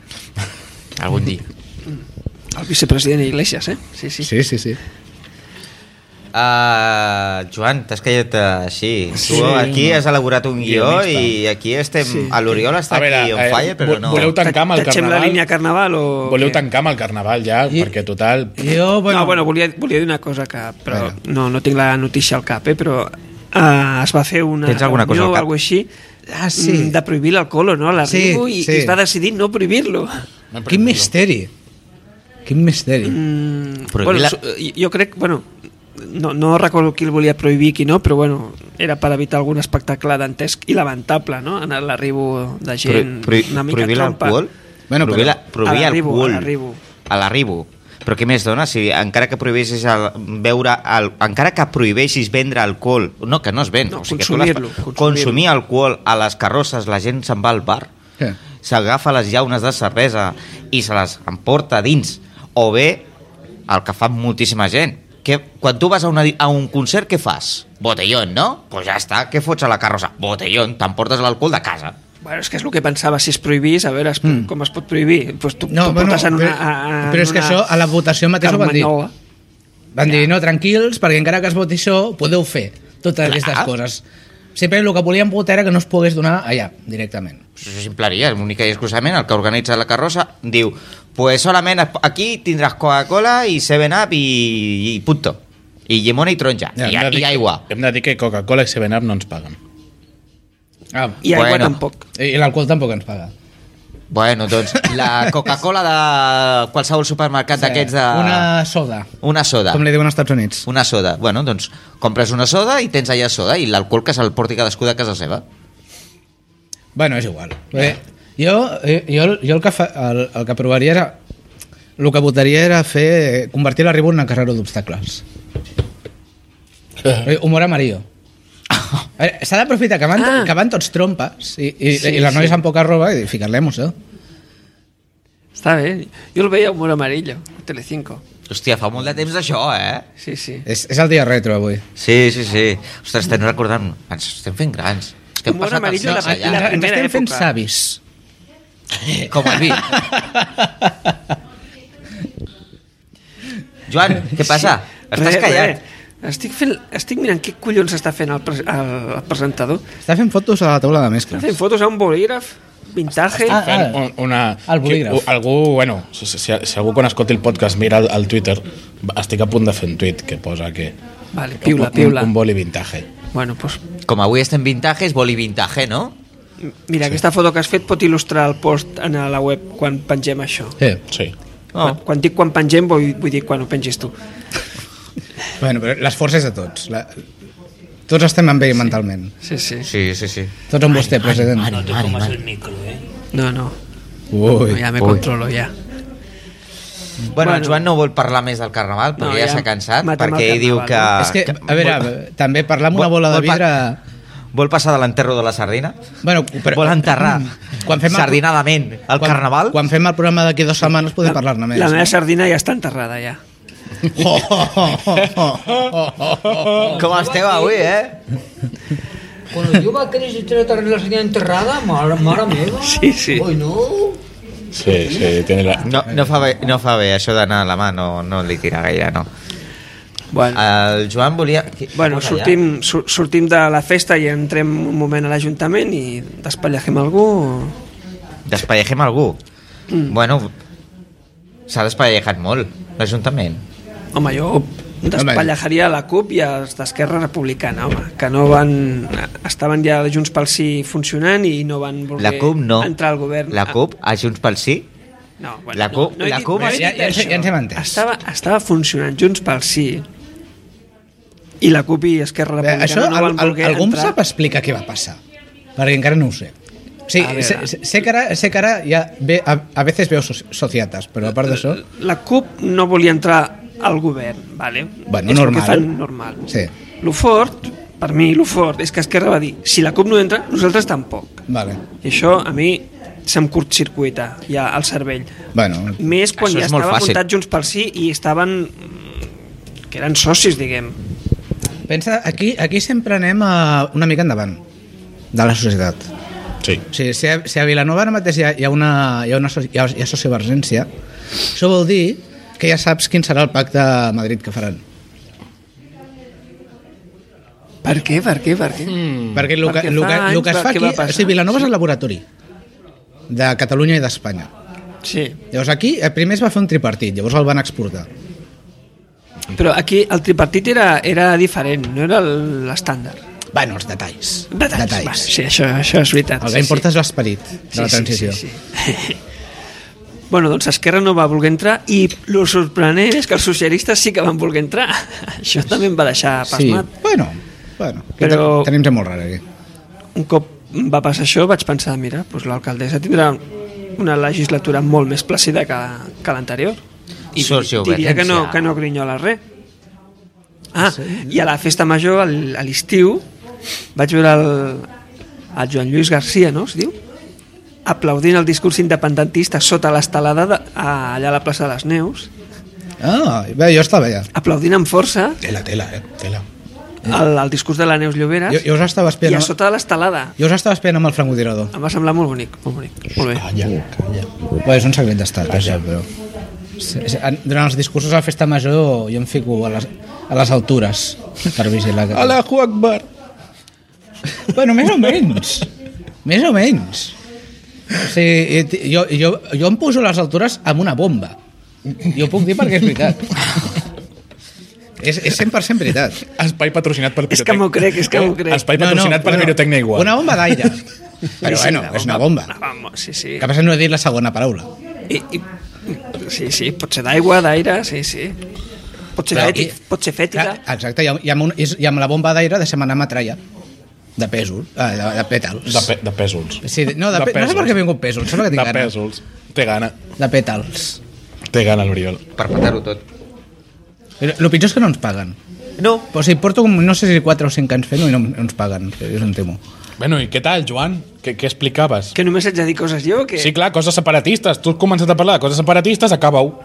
[SPEAKER 4] Algun dia.
[SPEAKER 2] El vicepresident Iglesias, eh? Sí, sí.
[SPEAKER 3] Sí, sí, sí.
[SPEAKER 4] Uh, Joan, t'has callat eh, així. Sí, tu aquí has elaborat un guió
[SPEAKER 1] Guionista.
[SPEAKER 4] i aquí estem... Sí. A l'Oriol està
[SPEAKER 1] A veure,
[SPEAKER 4] aquí on
[SPEAKER 1] eh,
[SPEAKER 4] falla, però
[SPEAKER 1] vo-
[SPEAKER 4] no.
[SPEAKER 1] voleu tancar amb el
[SPEAKER 2] Tatxem la
[SPEAKER 1] carnaval?
[SPEAKER 2] línia carnaval o...
[SPEAKER 1] Voleu
[SPEAKER 2] què?
[SPEAKER 1] tancar amb el carnaval ja,
[SPEAKER 3] I-
[SPEAKER 1] perquè total...
[SPEAKER 3] Jo, bueno...
[SPEAKER 2] No, Ah, bueno, volia, volia dir una cosa que... Però
[SPEAKER 3] Vinga.
[SPEAKER 2] no, no tinc la notícia al cap, eh? Però eh, es va fer una...
[SPEAKER 4] Tens alguna cosa
[SPEAKER 2] reunió
[SPEAKER 4] al cap?
[SPEAKER 2] O alguna així,
[SPEAKER 3] Ah, sí.
[SPEAKER 2] mm, De prohibir l'alcohol, o no? L'arribo
[SPEAKER 3] Sí,
[SPEAKER 2] sí, i,
[SPEAKER 3] sí.
[SPEAKER 2] sí. i es va decidir no prohibir-lo.
[SPEAKER 3] Quin misteri. Quin misteri.
[SPEAKER 2] Mm,
[SPEAKER 4] Prohibir
[SPEAKER 2] bueno,
[SPEAKER 4] la-
[SPEAKER 2] su- eh, jo crec... Bueno, no, no recordo qui el volia prohibir qui no, però bueno, era per evitar algun espectacle dantesc i lamentable, no? En l'arribo de
[SPEAKER 4] Pro,
[SPEAKER 2] gent
[SPEAKER 4] pro,
[SPEAKER 2] una mica
[SPEAKER 4] prohibir
[SPEAKER 2] trompa.
[SPEAKER 4] l'alcohol?
[SPEAKER 3] Bueno,
[SPEAKER 4] prohibir
[SPEAKER 3] però-
[SPEAKER 4] la- prohibir
[SPEAKER 2] A l'arribo,
[SPEAKER 4] l'alcohol.
[SPEAKER 2] a l'arribo.
[SPEAKER 4] A l'arribo. Però què més dona? Si encara que prohibeixis el, beure el, encara que prohibeixis vendre alcohol, no, que no es ven,
[SPEAKER 2] No,
[SPEAKER 4] que tu l'has-
[SPEAKER 2] consumir-lo, consumir-lo.
[SPEAKER 4] consumir alcohol a les carrosses, la gent se'n va al bar,
[SPEAKER 3] Què?
[SPEAKER 4] s'agafa les llaunes de cervesa i se les emporta dins, o bé el que fa moltíssima gent, que quan tu vas a, una, di- a un concert, què fas? Botellón, no? Pues ja està, què fots a la carrossa? Botellón, t'emportes l'alcohol de casa.
[SPEAKER 2] Bueno, és que és el que pensava, si es prohibís, a veure es, mm. com es pot prohibir? Pues tu, no, tu bueno, en una, a, a,
[SPEAKER 3] però és que
[SPEAKER 2] en
[SPEAKER 3] això
[SPEAKER 2] una
[SPEAKER 3] a la votació mateix ho van dir.
[SPEAKER 2] carmanyola.
[SPEAKER 3] Van dir, no, tranquils, perquè encara que es voti això, podeu fer totes Clar. aquestes coses. Sempre el que volíem votar era que no es pogués donar allà, directament.
[SPEAKER 4] Pues això s'impleria, única i exclusament el que organitza la carrossa diu pues solament es- aquí tindràs Coca-Cola i 7-Up i, i punto. I llimona i taronja.
[SPEAKER 1] Ja,
[SPEAKER 4] Ja,
[SPEAKER 1] hem de dir-
[SPEAKER 4] I, I aigua.
[SPEAKER 1] Hem de dir que Coca-Cola i 7-Up no ens paguen.
[SPEAKER 3] Ah,
[SPEAKER 2] I aigua
[SPEAKER 4] Bueno.
[SPEAKER 2] tampoc.
[SPEAKER 3] i i l'alcohol tampoc ens paga.
[SPEAKER 4] Bueno, doncs la Coca-Cola de qualsevol supermercat d'aquests de...
[SPEAKER 3] Una soda,
[SPEAKER 4] una soda.
[SPEAKER 3] com li diuen als Estats Units.
[SPEAKER 4] Una soda. Bueno, doncs compres una soda i tens allà soda i l'alcohol que se'l porti cadascú de casa seva.
[SPEAKER 3] Bueno, és igual. Bé, jo, eh, jo, jo el, que fa, el, el que provaria era... El que votaria era fer... Convertir la Ribó en una carrera d'obstacles. Eh, Humor amarillo. A veure, S'ha d'aprofitar que, van, ah. que van tots trompes i, i, sí, i les noies sí. amb poca roba i ficar-li emoció.
[SPEAKER 2] Està bé. Jo el veia humor amarillo, a Telecinco.
[SPEAKER 4] Hòstia, fa molt de temps això, eh?
[SPEAKER 2] Sí, sí.
[SPEAKER 3] És, és el dia retro avui.
[SPEAKER 4] Sí, sí, sí. Ostres, estem recordant... Ens estem fent grans. És que hem
[SPEAKER 2] Humor
[SPEAKER 4] passat els
[SPEAKER 2] amarillo, la-
[SPEAKER 4] temps allà.
[SPEAKER 2] la-
[SPEAKER 3] Ah, Ens
[SPEAKER 2] primera
[SPEAKER 3] estem fent
[SPEAKER 2] època.
[SPEAKER 3] savis.
[SPEAKER 4] Com el vi. Joan, què passa? Estàs
[SPEAKER 2] Res,
[SPEAKER 4] callat.
[SPEAKER 2] res. Estic, fent, estic mirant què collons està fent el, pres, el, el presentador.
[SPEAKER 3] Està fent fotos a la taula de
[SPEAKER 2] Està
[SPEAKER 3] mescles.
[SPEAKER 2] fent fotos a un bolígraf, vintage...
[SPEAKER 3] Ah,
[SPEAKER 1] Fent un, una...
[SPEAKER 3] El bolígraf.
[SPEAKER 1] que- Algú, bueno, si, si, si algú quan escolti el podcast mira el, el Twitter, estic a punt de fer un tuit que posa que...
[SPEAKER 2] Vale, piula,
[SPEAKER 1] un-
[SPEAKER 2] piula.
[SPEAKER 1] Un, un boli vintage.
[SPEAKER 2] Bueno, doncs, pues,
[SPEAKER 4] Com avui estem vintages, boli vintage, no?
[SPEAKER 2] mira, aquesta foto que has fet pot il·lustrar el post en la web quan pengem això.
[SPEAKER 3] Sí.
[SPEAKER 1] Sí.
[SPEAKER 4] Oh.
[SPEAKER 2] Quan, quan dic quan pengem, vull, vull dir quan ho pengis tu.
[SPEAKER 3] Bueno, però l'esforç és de tots. La... Tots estem amb ell sí. mentalment.
[SPEAKER 2] Sí, sí.
[SPEAKER 4] Sí, sí, sí.
[SPEAKER 3] Tots amb vostè, president.
[SPEAKER 8] No te comas el micro, eh?
[SPEAKER 2] No, no,
[SPEAKER 3] Ui.
[SPEAKER 2] no ja me controlo, ja.
[SPEAKER 4] Bueno,
[SPEAKER 2] Bueno.
[SPEAKER 4] bueno, Joan no vol parlar més del carnaval perquè
[SPEAKER 2] No,
[SPEAKER 4] no, ja,
[SPEAKER 2] ja
[SPEAKER 4] s'ha cansat,
[SPEAKER 2] matem
[SPEAKER 4] perquè
[SPEAKER 2] el
[SPEAKER 4] ell diu que...
[SPEAKER 2] carnaval.
[SPEAKER 3] És que,
[SPEAKER 4] que
[SPEAKER 3] a veure, també parlar amb una
[SPEAKER 4] vol-
[SPEAKER 3] bola de
[SPEAKER 4] vol pa-
[SPEAKER 3] vidre...
[SPEAKER 4] Vol passar de l'enterro de la sardina?
[SPEAKER 3] Bueno, però-
[SPEAKER 4] Vol enterrar
[SPEAKER 3] Quan fem el-
[SPEAKER 4] sardinadament el
[SPEAKER 3] quan,
[SPEAKER 4] carnaval?
[SPEAKER 3] Quan fem el programa d'aquí dues setmanes podem parlar-ne més.
[SPEAKER 2] La meva sardina ja està enterrada, ja.
[SPEAKER 3] Oh, oh, oh, oh, oh, oh, oh.
[SPEAKER 4] Com esteu avui, eh?
[SPEAKER 7] Quan jo va créixer i tenia la senyora enterrada, mare, mare meva.
[SPEAKER 2] Sí, sí.
[SPEAKER 7] Ui, no.
[SPEAKER 1] Sí, sí, tiene la...
[SPEAKER 4] No, no, fa bé, no fa bé, això d'anar a la mà no, no li tira gaire, no.
[SPEAKER 2] Bueno.
[SPEAKER 4] El Joan volia... Qui-
[SPEAKER 2] Bueno,
[SPEAKER 4] posa allà.
[SPEAKER 2] sortim, sur sortim de la festa i entrem un moment a l'Ajuntament i despallagem algú o...
[SPEAKER 4] Despallejem algú. Mm. Bueno, s'ha despallejat molt, l'Ajuntament.
[SPEAKER 2] Home, jo despallajaria la CUP i els d'Esquerra Republicana, home, que no van... Estaven ja de Junts pel Sí funcionant i no van voler
[SPEAKER 4] La CUP no.
[SPEAKER 2] entrar al govern. Ah.
[SPEAKER 4] La CUP, a Junts pel Sí,
[SPEAKER 2] No, bueno,
[SPEAKER 4] La CUP-
[SPEAKER 2] he
[SPEAKER 4] la
[SPEAKER 2] dit-
[SPEAKER 4] CUP
[SPEAKER 2] he dit
[SPEAKER 3] ja- ja ens-
[SPEAKER 2] això.
[SPEAKER 3] ja ens hem entès.
[SPEAKER 2] Estava, estava funcionant Junts pel Sí i la CUP i Esquerra
[SPEAKER 3] Eh,
[SPEAKER 2] Republicana
[SPEAKER 3] Això,
[SPEAKER 2] no
[SPEAKER 3] al,
[SPEAKER 2] van
[SPEAKER 3] al,
[SPEAKER 2] voler
[SPEAKER 3] algú em
[SPEAKER 2] entrar.
[SPEAKER 3] sap explicar què va passar? Perquè encara no ho sé. Sí,
[SPEAKER 2] A veure.
[SPEAKER 3] sé, sé- sé, que ara, sé que ara ja ve, a, a veces veo so- societas, però a part d'això...
[SPEAKER 2] La CUP no volia entrar al govern, vale?
[SPEAKER 3] Bueno,
[SPEAKER 2] és
[SPEAKER 3] normal.
[SPEAKER 2] El que fan normal.
[SPEAKER 3] Sí.
[SPEAKER 2] Lo fort, per mi, lo fort, és que Esquerra va dir si la CUP no entra, nosaltres tampoc.
[SPEAKER 3] Vale.
[SPEAKER 2] I això a mi se'm curtcircuita ja al cervell.
[SPEAKER 3] Bueno,
[SPEAKER 2] Més quan
[SPEAKER 4] Això
[SPEAKER 2] ja
[SPEAKER 4] és molt
[SPEAKER 2] estava
[SPEAKER 4] fàcil.
[SPEAKER 2] apuntat Junts pel Sí i estaven mm, que eren socis, diguem.
[SPEAKER 3] pensa, aquí, aquí sempre anem a, una mica endavant de la societat.
[SPEAKER 1] Sí.
[SPEAKER 3] O sigui, si a, si a Vilanova ara mateix hi ha, hi ha una, hi ha una so- hi ha, hi ha sociovergència, això vol dir que ja saps quin serà el pacte a Madrid que faran.
[SPEAKER 2] Per què, per què, per què?
[SPEAKER 3] Perquè el que,
[SPEAKER 2] Mm. Perquè
[SPEAKER 3] el que,
[SPEAKER 2] fa
[SPEAKER 3] el que es
[SPEAKER 2] anys,
[SPEAKER 3] fa
[SPEAKER 2] perquè
[SPEAKER 3] aquí...
[SPEAKER 2] va passar.
[SPEAKER 3] O sigui, Vilanova és el laboratori de Catalunya i d'Espanya.
[SPEAKER 2] Sí.
[SPEAKER 3] Llavors aquí eh, primer es va fer un tripartit, llavors el van exportar.
[SPEAKER 2] Però aquí el tripartit era, era diferent, no era el- l'estàndard.
[SPEAKER 3] Bueno, els detalls.
[SPEAKER 2] Detalls. Detalls. Bueno, sí, això, això és veritat.
[SPEAKER 3] El
[SPEAKER 2] sí,
[SPEAKER 3] que importa
[SPEAKER 2] sí.
[SPEAKER 3] és l'esperit de la transició.
[SPEAKER 2] Sí, sí, sí. bueno, doncs Esquerra no va voler entrar i lo sorprenent és que els socialistes sí que van voler entrar. Això també em va deixar pasmat.
[SPEAKER 3] Bueno, bueno
[SPEAKER 2] Però-
[SPEAKER 3] Però... tenim gent molt rara aquí.
[SPEAKER 2] Sí. Un cop va passar això vaig pensar, mira, doncs l'alcaldessa tindrà una legislatura molt més plàcida que, que l'anterior. I
[SPEAKER 4] Socio
[SPEAKER 2] diria que no,
[SPEAKER 4] obediència.
[SPEAKER 2] que no grinyola res. Ah, i a la festa major, al- a l'estiu, vaig veure el, el Joan Lluís Garcia, no es diu? Aplaudint el discurs independentista sota l'estelada de, a, allà a la plaça de les Neus,
[SPEAKER 3] Ah, bé, jo estava allà.
[SPEAKER 2] aplaudint amb força
[SPEAKER 1] Tela, tela, eh? Tela.
[SPEAKER 2] el, el discurs de la Neus Lloberes
[SPEAKER 3] Jo, jo us
[SPEAKER 2] Ah.
[SPEAKER 3] estava
[SPEAKER 2] i
[SPEAKER 3] esperant...
[SPEAKER 2] a sota de l'estelada.
[SPEAKER 3] Jo us estava esperant amb el francotirador.
[SPEAKER 2] Em va semblar molt bonic, molt bonic. Molt bé.
[SPEAKER 1] Calla, calla.
[SPEAKER 3] Bé, és un secret d'estat, això, però... Sí, sí, en- Durant els discursos a la festa major jo em fico a les, a les altures per vigilar. Que...
[SPEAKER 1] Allahu Akbar.
[SPEAKER 3] Bueno, més o menys. Més o menys. O sigui, i- i- jo, jo, jo em poso a les altures amb una bomba. Jo ho puc dir perquè és veritat. És, és 100% veritat.
[SPEAKER 1] Espai patrocinat per Eh?
[SPEAKER 2] És que m'ho crec, és que m'ho crec.
[SPEAKER 1] Espai patrocinat per Pirotècnia Igual.
[SPEAKER 3] Una bomba d'aire. Però bueno, és una bomba.
[SPEAKER 2] Una bomba, sí, sí.
[SPEAKER 3] El que passa és que no he dit la segona paraula.
[SPEAKER 2] I, i, sí, sí, pot ser d'aigua, d'aire, sí, sí. Pot ser,
[SPEAKER 3] Però-
[SPEAKER 2] ètic, pot ser fètica.
[SPEAKER 3] Clar, Exacte, i amb, i amb, un, és- i amb la bomba d'aire deixem anar metralla. De pèsol, eh, de, de pètals.
[SPEAKER 1] De, pe de pèsols.
[SPEAKER 3] Sí, de- no, de, de pèsols. No sé per què he vingut pèsol, sembla que tinc
[SPEAKER 1] De
[SPEAKER 3] gana.
[SPEAKER 1] pèsols. Té gana.
[SPEAKER 3] De pètals.
[SPEAKER 1] Té gana l'Oriol.
[SPEAKER 4] per patar-ho tot.
[SPEAKER 3] El pitjor és que no ens paguen.
[SPEAKER 4] No,
[SPEAKER 3] Però si porto, com, no sé si 4 o 5 anys fent-ho i no, no ens paguen, que jo és un temo.
[SPEAKER 1] Bueno, i què tal, Joan? Què, què explicaves?
[SPEAKER 2] Que només haig de dir coses jo? Que...
[SPEAKER 1] Sí, clar, coses separatistes. Tu has començat a parlar de coses separatistes, acaba-ho.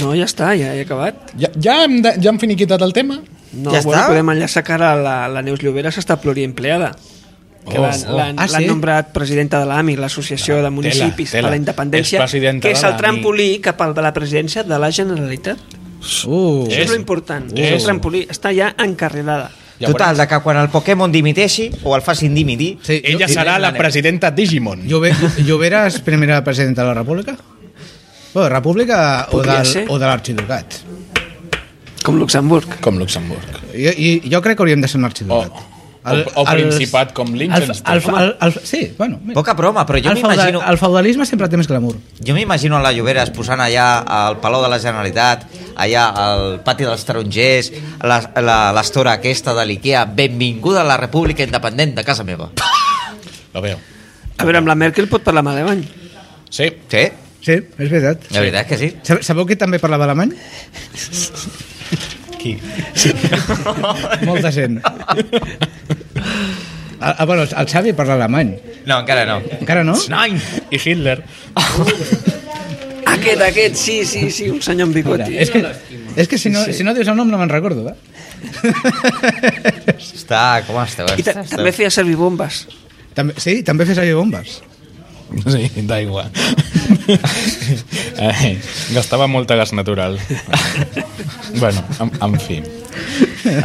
[SPEAKER 2] No, ja està, ja he acabat.
[SPEAKER 1] Ja, ja, hem de, ja hem finiquitat el tema?
[SPEAKER 2] No,
[SPEAKER 4] Ja
[SPEAKER 2] bueno,
[SPEAKER 4] està?
[SPEAKER 2] podem enllaçar que ara la, la Neus Lloberes està pluriempleada. Que
[SPEAKER 1] Oh,
[SPEAKER 2] l'han
[SPEAKER 1] oh.
[SPEAKER 2] l'han-
[SPEAKER 3] Ah, sí?
[SPEAKER 2] l'han nombrat presidenta de l'AMI, l'Associació de Municipis
[SPEAKER 1] tela.
[SPEAKER 2] per la Independència,
[SPEAKER 1] És presidenta
[SPEAKER 2] que és
[SPEAKER 1] de
[SPEAKER 2] el
[SPEAKER 1] l'AMI.
[SPEAKER 2] trampolí cap a la presidència de la Generalitat.
[SPEAKER 3] Uh,
[SPEAKER 2] Això
[SPEAKER 1] És-
[SPEAKER 2] és lo important.
[SPEAKER 1] és-
[SPEAKER 2] És el trampolí. Està ja encarrilada.
[SPEAKER 1] Ja
[SPEAKER 4] Total, de que quan el Pokémon dimiteixi o el facin dimitir,
[SPEAKER 3] sí,
[SPEAKER 1] Ella serà la presidenta Digimon.
[SPEAKER 3] Llobe, Lloberes, primera presidenta de la República? Bueno, República o,
[SPEAKER 2] Podria
[SPEAKER 3] del,
[SPEAKER 2] ser.
[SPEAKER 3] o de l'Arxiducat.
[SPEAKER 2] Com Luxemburg.
[SPEAKER 1] Com Luxemburg.
[SPEAKER 3] Jo, i, jo crec que hauríem de ser un arxiducat.
[SPEAKER 1] Oh.
[SPEAKER 3] Oh.
[SPEAKER 1] O- o principat com Liechtenstein.
[SPEAKER 3] El, el, el, el, sí, bueno. mira.
[SPEAKER 4] Poca broma, però jo
[SPEAKER 3] el, feudal,
[SPEAKER 4] m'imagino...
[SPEAKER 3] el feudalisme sempre té més glamour.
[SPEAKER 4] Jo m'imagino a la Llobera es posant allà al Palau de la Generalitat, allà al Pati dels Tarongers, a la- a la- a l'estora aquesta de l'IKEA, benvinguda a la República Independent de casa meva.
[SPEAKER 1] Lo veo.
[SPEAKER 2] A veure, amb la Merkel pot parlar amb alemany.
[SPEAKER 1] Sí,
[SPEAKER 4] Sí,
[SPEAKER 3] Sí, és veritat.
[SPEAKER 4] la veritat que sí.
[SPEAKER 3] Sabe- Sabeu que també parlava alemany?
[SPEAKER 1] qui?
[SPEAKER 3] Molta gent. Ah, ah, bueno, el Xavi parla alemany.
[SPEAKER 4] No, encara no.
[SPEAKER 3] Encara no?
[SPEAKER 4] Nein!
[SPEAKER 1] I Hitler.
[SPEAKER 2] Aquest, aquest, sí, sí, sí, un senyor amb
[SPEAKER 3] Mira,
[SPEAKER 2] bigoti.
[SPEAKER 3] és que, és que si, no, si no dius el nom no me'n recordo, eh? va?
[SPEAKER 4] Està, com esteu?
[SPEAKER 2] I ta també feia servir bombes.
[SPEAKER 3] També, sí, també fes allò bombes.
[SPEAKER 1] Sí, d'aigua. Eh, gastava molta gas natural. bueno, en, en fi.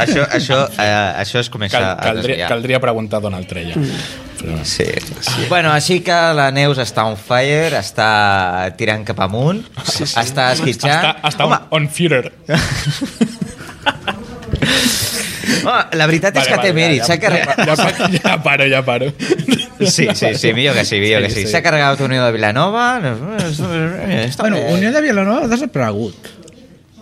[SPEAKER 4] Això, això, eh, això es comença
[SPEAKER 1] Cal,
[SPEAKER 4] a
[SPEAKER 1] caldria,
[SPEAKER 4] desviar.
[SPEAKER 1] caldria preguntar d'on el treia.
[SPEAKER 4] Mm.
[SPEAKER 1] Però,
[SPEAKER 4] Sí, sí. Bueno, així que la Neus està on fire, està tirant cap amunt, sí, sí. està esquitxant.
[SPEAKER 1] està, està
[SPEAKER 4] home,
[SPEAKER 1] on, on Führer.
[SPEAKER 4] home, la veritat és que té mèrit. S'ha carregat...
[SPEAKER 1] Ja, ja, ja paro, ja paro.
[SPEAKER 4] Sí, sí, sí, millor que sí,
[SPEAKER 1] Sí,
[SPEAKER 4] millor que sí.
[SPEAKER 1] sí.
[SPEAKER 4] S'ha carregat Unió de Vilanova... Està
[SPEAKER 3] Bueno,
[SPEAKER 4] bé.
[SPEAKER 3] Unió de Vilanova ha desaparegut.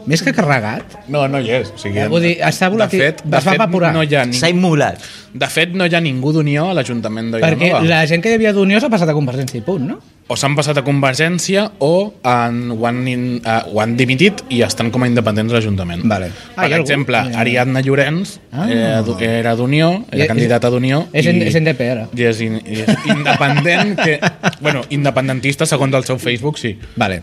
[SPEAKER 3] Més que carregat.
[SPEAKER 1] No, no hi és. O sigui,
[SPEAKER 3] Eh, Vull dir, està volatil-
[SPEAKER 1] De fet, de
[SPEAKER 3] es va
[SPEAKER 1] fet
[SPEAKER 3] evaporar.
[SPEAKER 1] no hi ha
[SPEAKER 4] S'ha
[SPEAKER 1] ni,
[SPEAKER 4] immulat.
[SPEAKER 1] de fet, no hi ha ningú d'Unió a l'Ajuntament de
[SPEAKER 3] Perquè
[SPEAKER 1] Vilanova.
[SPEAKER 3] la gent que hi havia d'Unió s'ha passat a Convergència i punt, no?
[SPEAKER 1] O s'han passat a Convergència o han, ho, han, in, uh, ho han dimitit i estan com a independents a l'Ajuntament.
[SPEAKER 3] Vale. Ah,
[SPEAKER 1] Per
[SPEAKER 3] hi ha algú?
[SPEAKER 1] exemple,
[SPEAKER 3] Ja, ja.
[SPEAKER 1] Ariadna Llorenç
[SPEAKER 3] Ah.
[SPEAKER 1] eh, du- era d'Unió,
[SPEAKER 3] I
[SPEAKER 1] era
[SPEAKER 3] és-
[SPEAKER 1] candidata d'Unió.
[SPEAKER 3] és
[SPEAKER 1] i-
[SPEAKER 3] en- és NDP ara.
[SPEAKER 1] I és, in, i és independent, que, bueno, independentista segons el seu Facebook, sí.
[SPEAKER 3] Vale.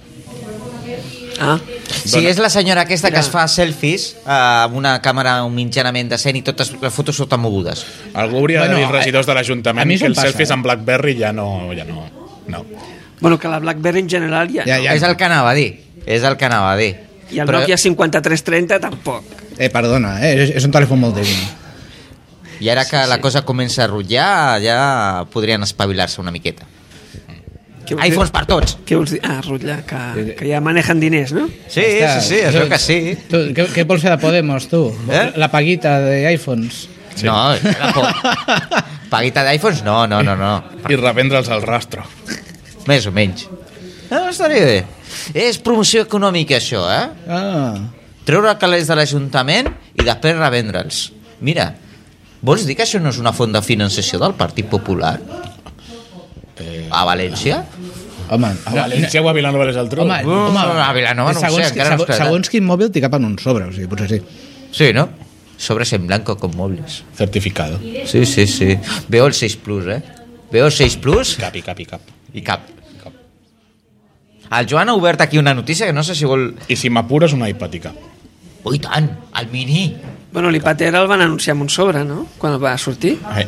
[SPEAKER 2] Ah,
[SPEAKER 4] Si és la senyora aquesta que es fa selfies eh, amb una càmera mitjanament decent i totes les fotos surten mogudes.
[SPEAKER 1] Algú hauria
[SPEAKER 3] Bueno,
[SPEAKER 1] de dir als regidors de
[SPEAKER 3] a
[SPEAKER 1] l'Ajuntament
[SPEAKER 3] mi
[SPEAKER 1] que
[SPEAKER 3] això em
[SPEAKER 1] els
[SPEAKER 3] passa,
[SPEAKER 1] selfies
[SPEAKER 3] eh?
[SPEAKER 1] amb Blackberry ja no... Ja no, no.
[SPEAKER 2] bueno, que la BlackBerry en general ja... ja,
[SPEAKER 3] Ja, ja.
[SPEAKER 2] ja.
[SPEAKER 4] Ja. És el que anava a dir. És el que anava a dir.
[SPEAKER 2] I el Nokia 5330 tampoc.
[SPEAKER 3] Eh, perdona, eh? és, és un telèfon molt dèbil.
[SPEAKER 4] I ara que la cosa comença a rutllar, ja podrien espavilar-se una miqueta.
[SPEAKER 2] Què vols dir?
[SPEAKER 4] iPhones per tots!
[SPEAKER 2] Què vols dir? Ah, Rutlla, que, que ja manejan diners, no?
[SPEAKER 4] Sí, sí, sí, es veu que sí.
[SPEAKER 3] Tu, què, què vols fer de Podemos, tu?
[SPEAKER 4] Eh?
[SPEAKER 3] La paguita d'iPhones.
[SPEAKER 4] sí. No, tampoc. Paguita d'iPhones? No, no, no, no.
[SPEAKER 1] I revendre'ls al rastro.
[SPEAKER 4] Més o menys. No, estaria bé. És promoció econòmica, això, eh?
[SPEAKER 3] Ah.
[SPEAKER 4] Treure calés de l'Ajuntament i després revendre'ls. Mira, vols dir que això no és una font de finançació del Partit Popular? A València?
[SPEAKER 3] Home,
[SPEAKER 1] A València o a Vilanova i la Geltrú.
[SPEAKER 3] Ah, Home,
[SPEAKER 4] Uh,
[SPEAKER 3] home,
[SPEAKER 4] a Vilanova no ho sé,
[SPEAKER 3] segons,
[SPEAKER 4] encara no
[SPEAKER 3] segons,
[SPEAKER 4] està.
[SPEAKER 3] segons quin mòbil t'hi capen un sobre, o sigui, potser sí.
[SPEAKER 4] Sí, no? Sobres en blanco con mobles.
[SPEAKER 1] Certificado.
[SPEAKER 4] Sí, sí, sí. Veo el 6 Plus, eh? Veo el 6 Plus
[SPEAKER 1] Capi, capi, cap.
[SPEAKER 4] i cap. El Joan ha obert aquí una notícia que no sé si vol...
[SPEAKER 1] I si m'apures una hipàtica.
[SPEAKER 4] Oh, i tant! El mini!
[SPEAKER 2] Bueno, l'Ipatera el van anunciar amb un sobre, no? Quan el va sortir.
[SPEAKER 3] Ah.
[SPEAKER 1] Eh,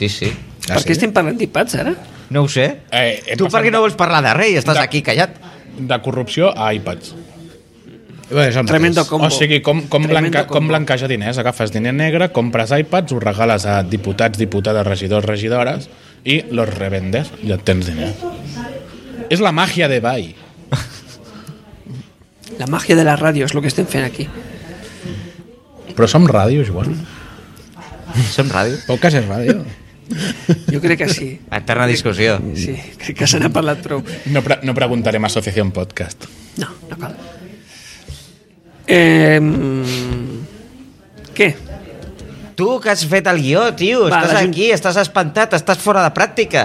[SPEAKER 4] Sí, sí.
[SPEAKER 2] Ah, per què estem parlant d'Ipats, ara?
[SPEAKER 4] No ho sé.
[SPEAKER 1] eh, hem
[SPEAKER 4] tu
[SPEAKER 1] passat
[SPEAKER 4] per què no vols parlar de rei? Estàs
[SPEAKER 1] De-
[SPEAKER 4] aquí callat.
[SPEAKER 1] De corrupció a iPads.
[SPEAKER 3] Bé, és el mateix.
[SPEAKER 2] Tremendo combo.
[SPEAKER 1] Combo. O sigui, com, com,
[SPEAKER 2] Tremendo
[SPEAKER 1] blanca, com
[SPEAKER 2] combo.
[SPEAKER 1] blanqueja diners? Agafes diner negre, compres iPads, ho regales a diputats, diputades, regidors, regidores i los revendes i et tens diners. És la màgia de Bai.
[SPEAKER 2] La màgia de la ràdio és el que estem fent aquí.
[SPEAKER 1] Però som ràdio, Joan.
[SPEAKER 4] Som ràdio.
[SPEAKER 3] Podcast és ràdio.
[SPEAKER 2] Jo crec que sí.
[SPEAKER 4] Eterna discussió.
[SPEAKER 2] Sí, crec que se n'ha parlat prou.
[SPEAKER 1] No, pre no preguntarem a Associació Podcast.
[SPEAKER 2] No, no cal. Eh, mm, què?
[SPEAKER 4] Tu que has fet el guió, tio.
[SPEAKER 2] Va,
[SPEAKER 4] estàs
[SPEAKER 2] la Jun-
[SPEAKER 4] aquí, estàs espantat, estàs fora de pràctica.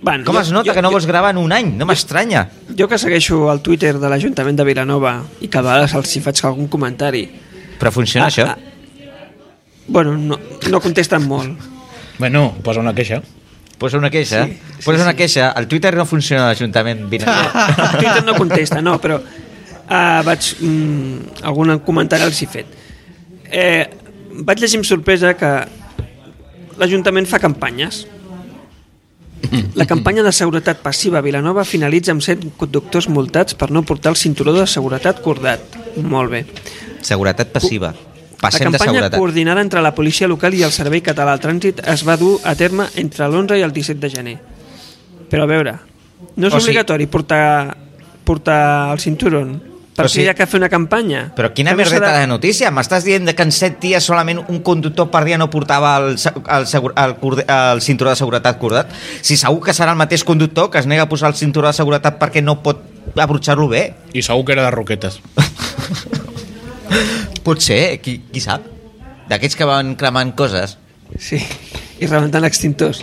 [SPEAKER 2] Bueno,
[SPEAKER 4] Com
[SPEAKER 2] jo-
[SPEAKER 4] es nota
[SPEAKER 2] jo-
[SPEAKER 4] que no
[SPEAKER 2] jo-
[SPEAKER 4] vols gravar en un any? No m'estranya.
[SPEAKER 2] Jo que segueixo el Twitter de l'Ajuntament de Vilanova i que a vegades els hi faig algun comentari.
[SPEAKER 4] Però
[SPEAKER 2] Ah,
[SPEAKER 4] funciona això?
[SPEAKER 2] Bueno, no, no contesten molt.
[SPEAKER 1] Bueno, posa una queixa.
[SPEAKER 4] Posa una queixa. eh?
[SPEAKER 2] Sí, sí,
[SPEAKER 4] Posa una
[SPEAKER 2] sí.
[SPEAKER 4] queixa. El Twitter no funciona a l'Ajuntament. Vine.
[SPEAKER 2] El Twitter no contesta, no, però uh, vaig, mm, algun comentari els he fet. Eh, vaig llegir amb sorpresa que l'Ajuntament fa campanyes. La campanya de seguretat passiva a Vilanova finalitza amb 7 conductors multats per no portar el cinturó de seguretat cordat. Molt bé.
[SPEAKER 4] Seguretat passiva. Passem
[SPEAKER 2] la
[SPEAKER 4] de
[SPEAKER 2] campanya
[SPEAKER 4] seguretat.
[SPEAKER 2] coordinada entre la policia local i el Servei Català del Trànsit es va dur a terme entre l'11 i el 17 de gener. Però a veure, no és
[SPEAKER 4] O
[SPEAKER 2] o
[SPEAKER 4] sigui-
[SPEAKER 2] obligatori portar, portar el cinturón. Per
[SPEAKER 4] Però
[SPEAKER 2] si
[SPEAKER 4] sí.
[SPEAKER 2] hi ha que fer una campanya.
[SPEAKER 4] Però quina
[SPEAKER 2] Que no
[SPEAKER 4] merdeta
[SPEAKER 2] serà-
[SPEAKER 4] de notícia? M'estàs dient que en 7 dies solament un conductor per dia no portava el, se- el, segur, el, corde- el cinturó de seguretat cordat? Si segur que serà el mateix conductor que es nega a posar el cinturó de seguretat perquè no pot abrutxar-lo bé.
[SPEAKER 1] I segur que era de roquetes.
[SPEAKER 4] Potser, qui, qui sap? D'aquests que van cremant coses.
[SPEAKER 2] Sí, i rebentant extintors.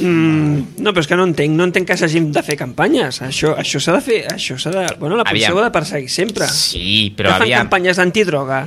[SPEAKER 2] Mm, no, però és que no entenc, no entenc que s'hagin de fer campanyes. Això això s'ha de fer, això s'ha de... Bueno, la policia
[SPEAKER 4] Aviam.
[SPEAKER 2] ho ha de perseguir sempre.
[SPEAKER 4] Sí, però
[SPEAKER 2] no fan
[SPEAKER 4] aviam.
[SPEAKER 2] campanyes d'antidroga.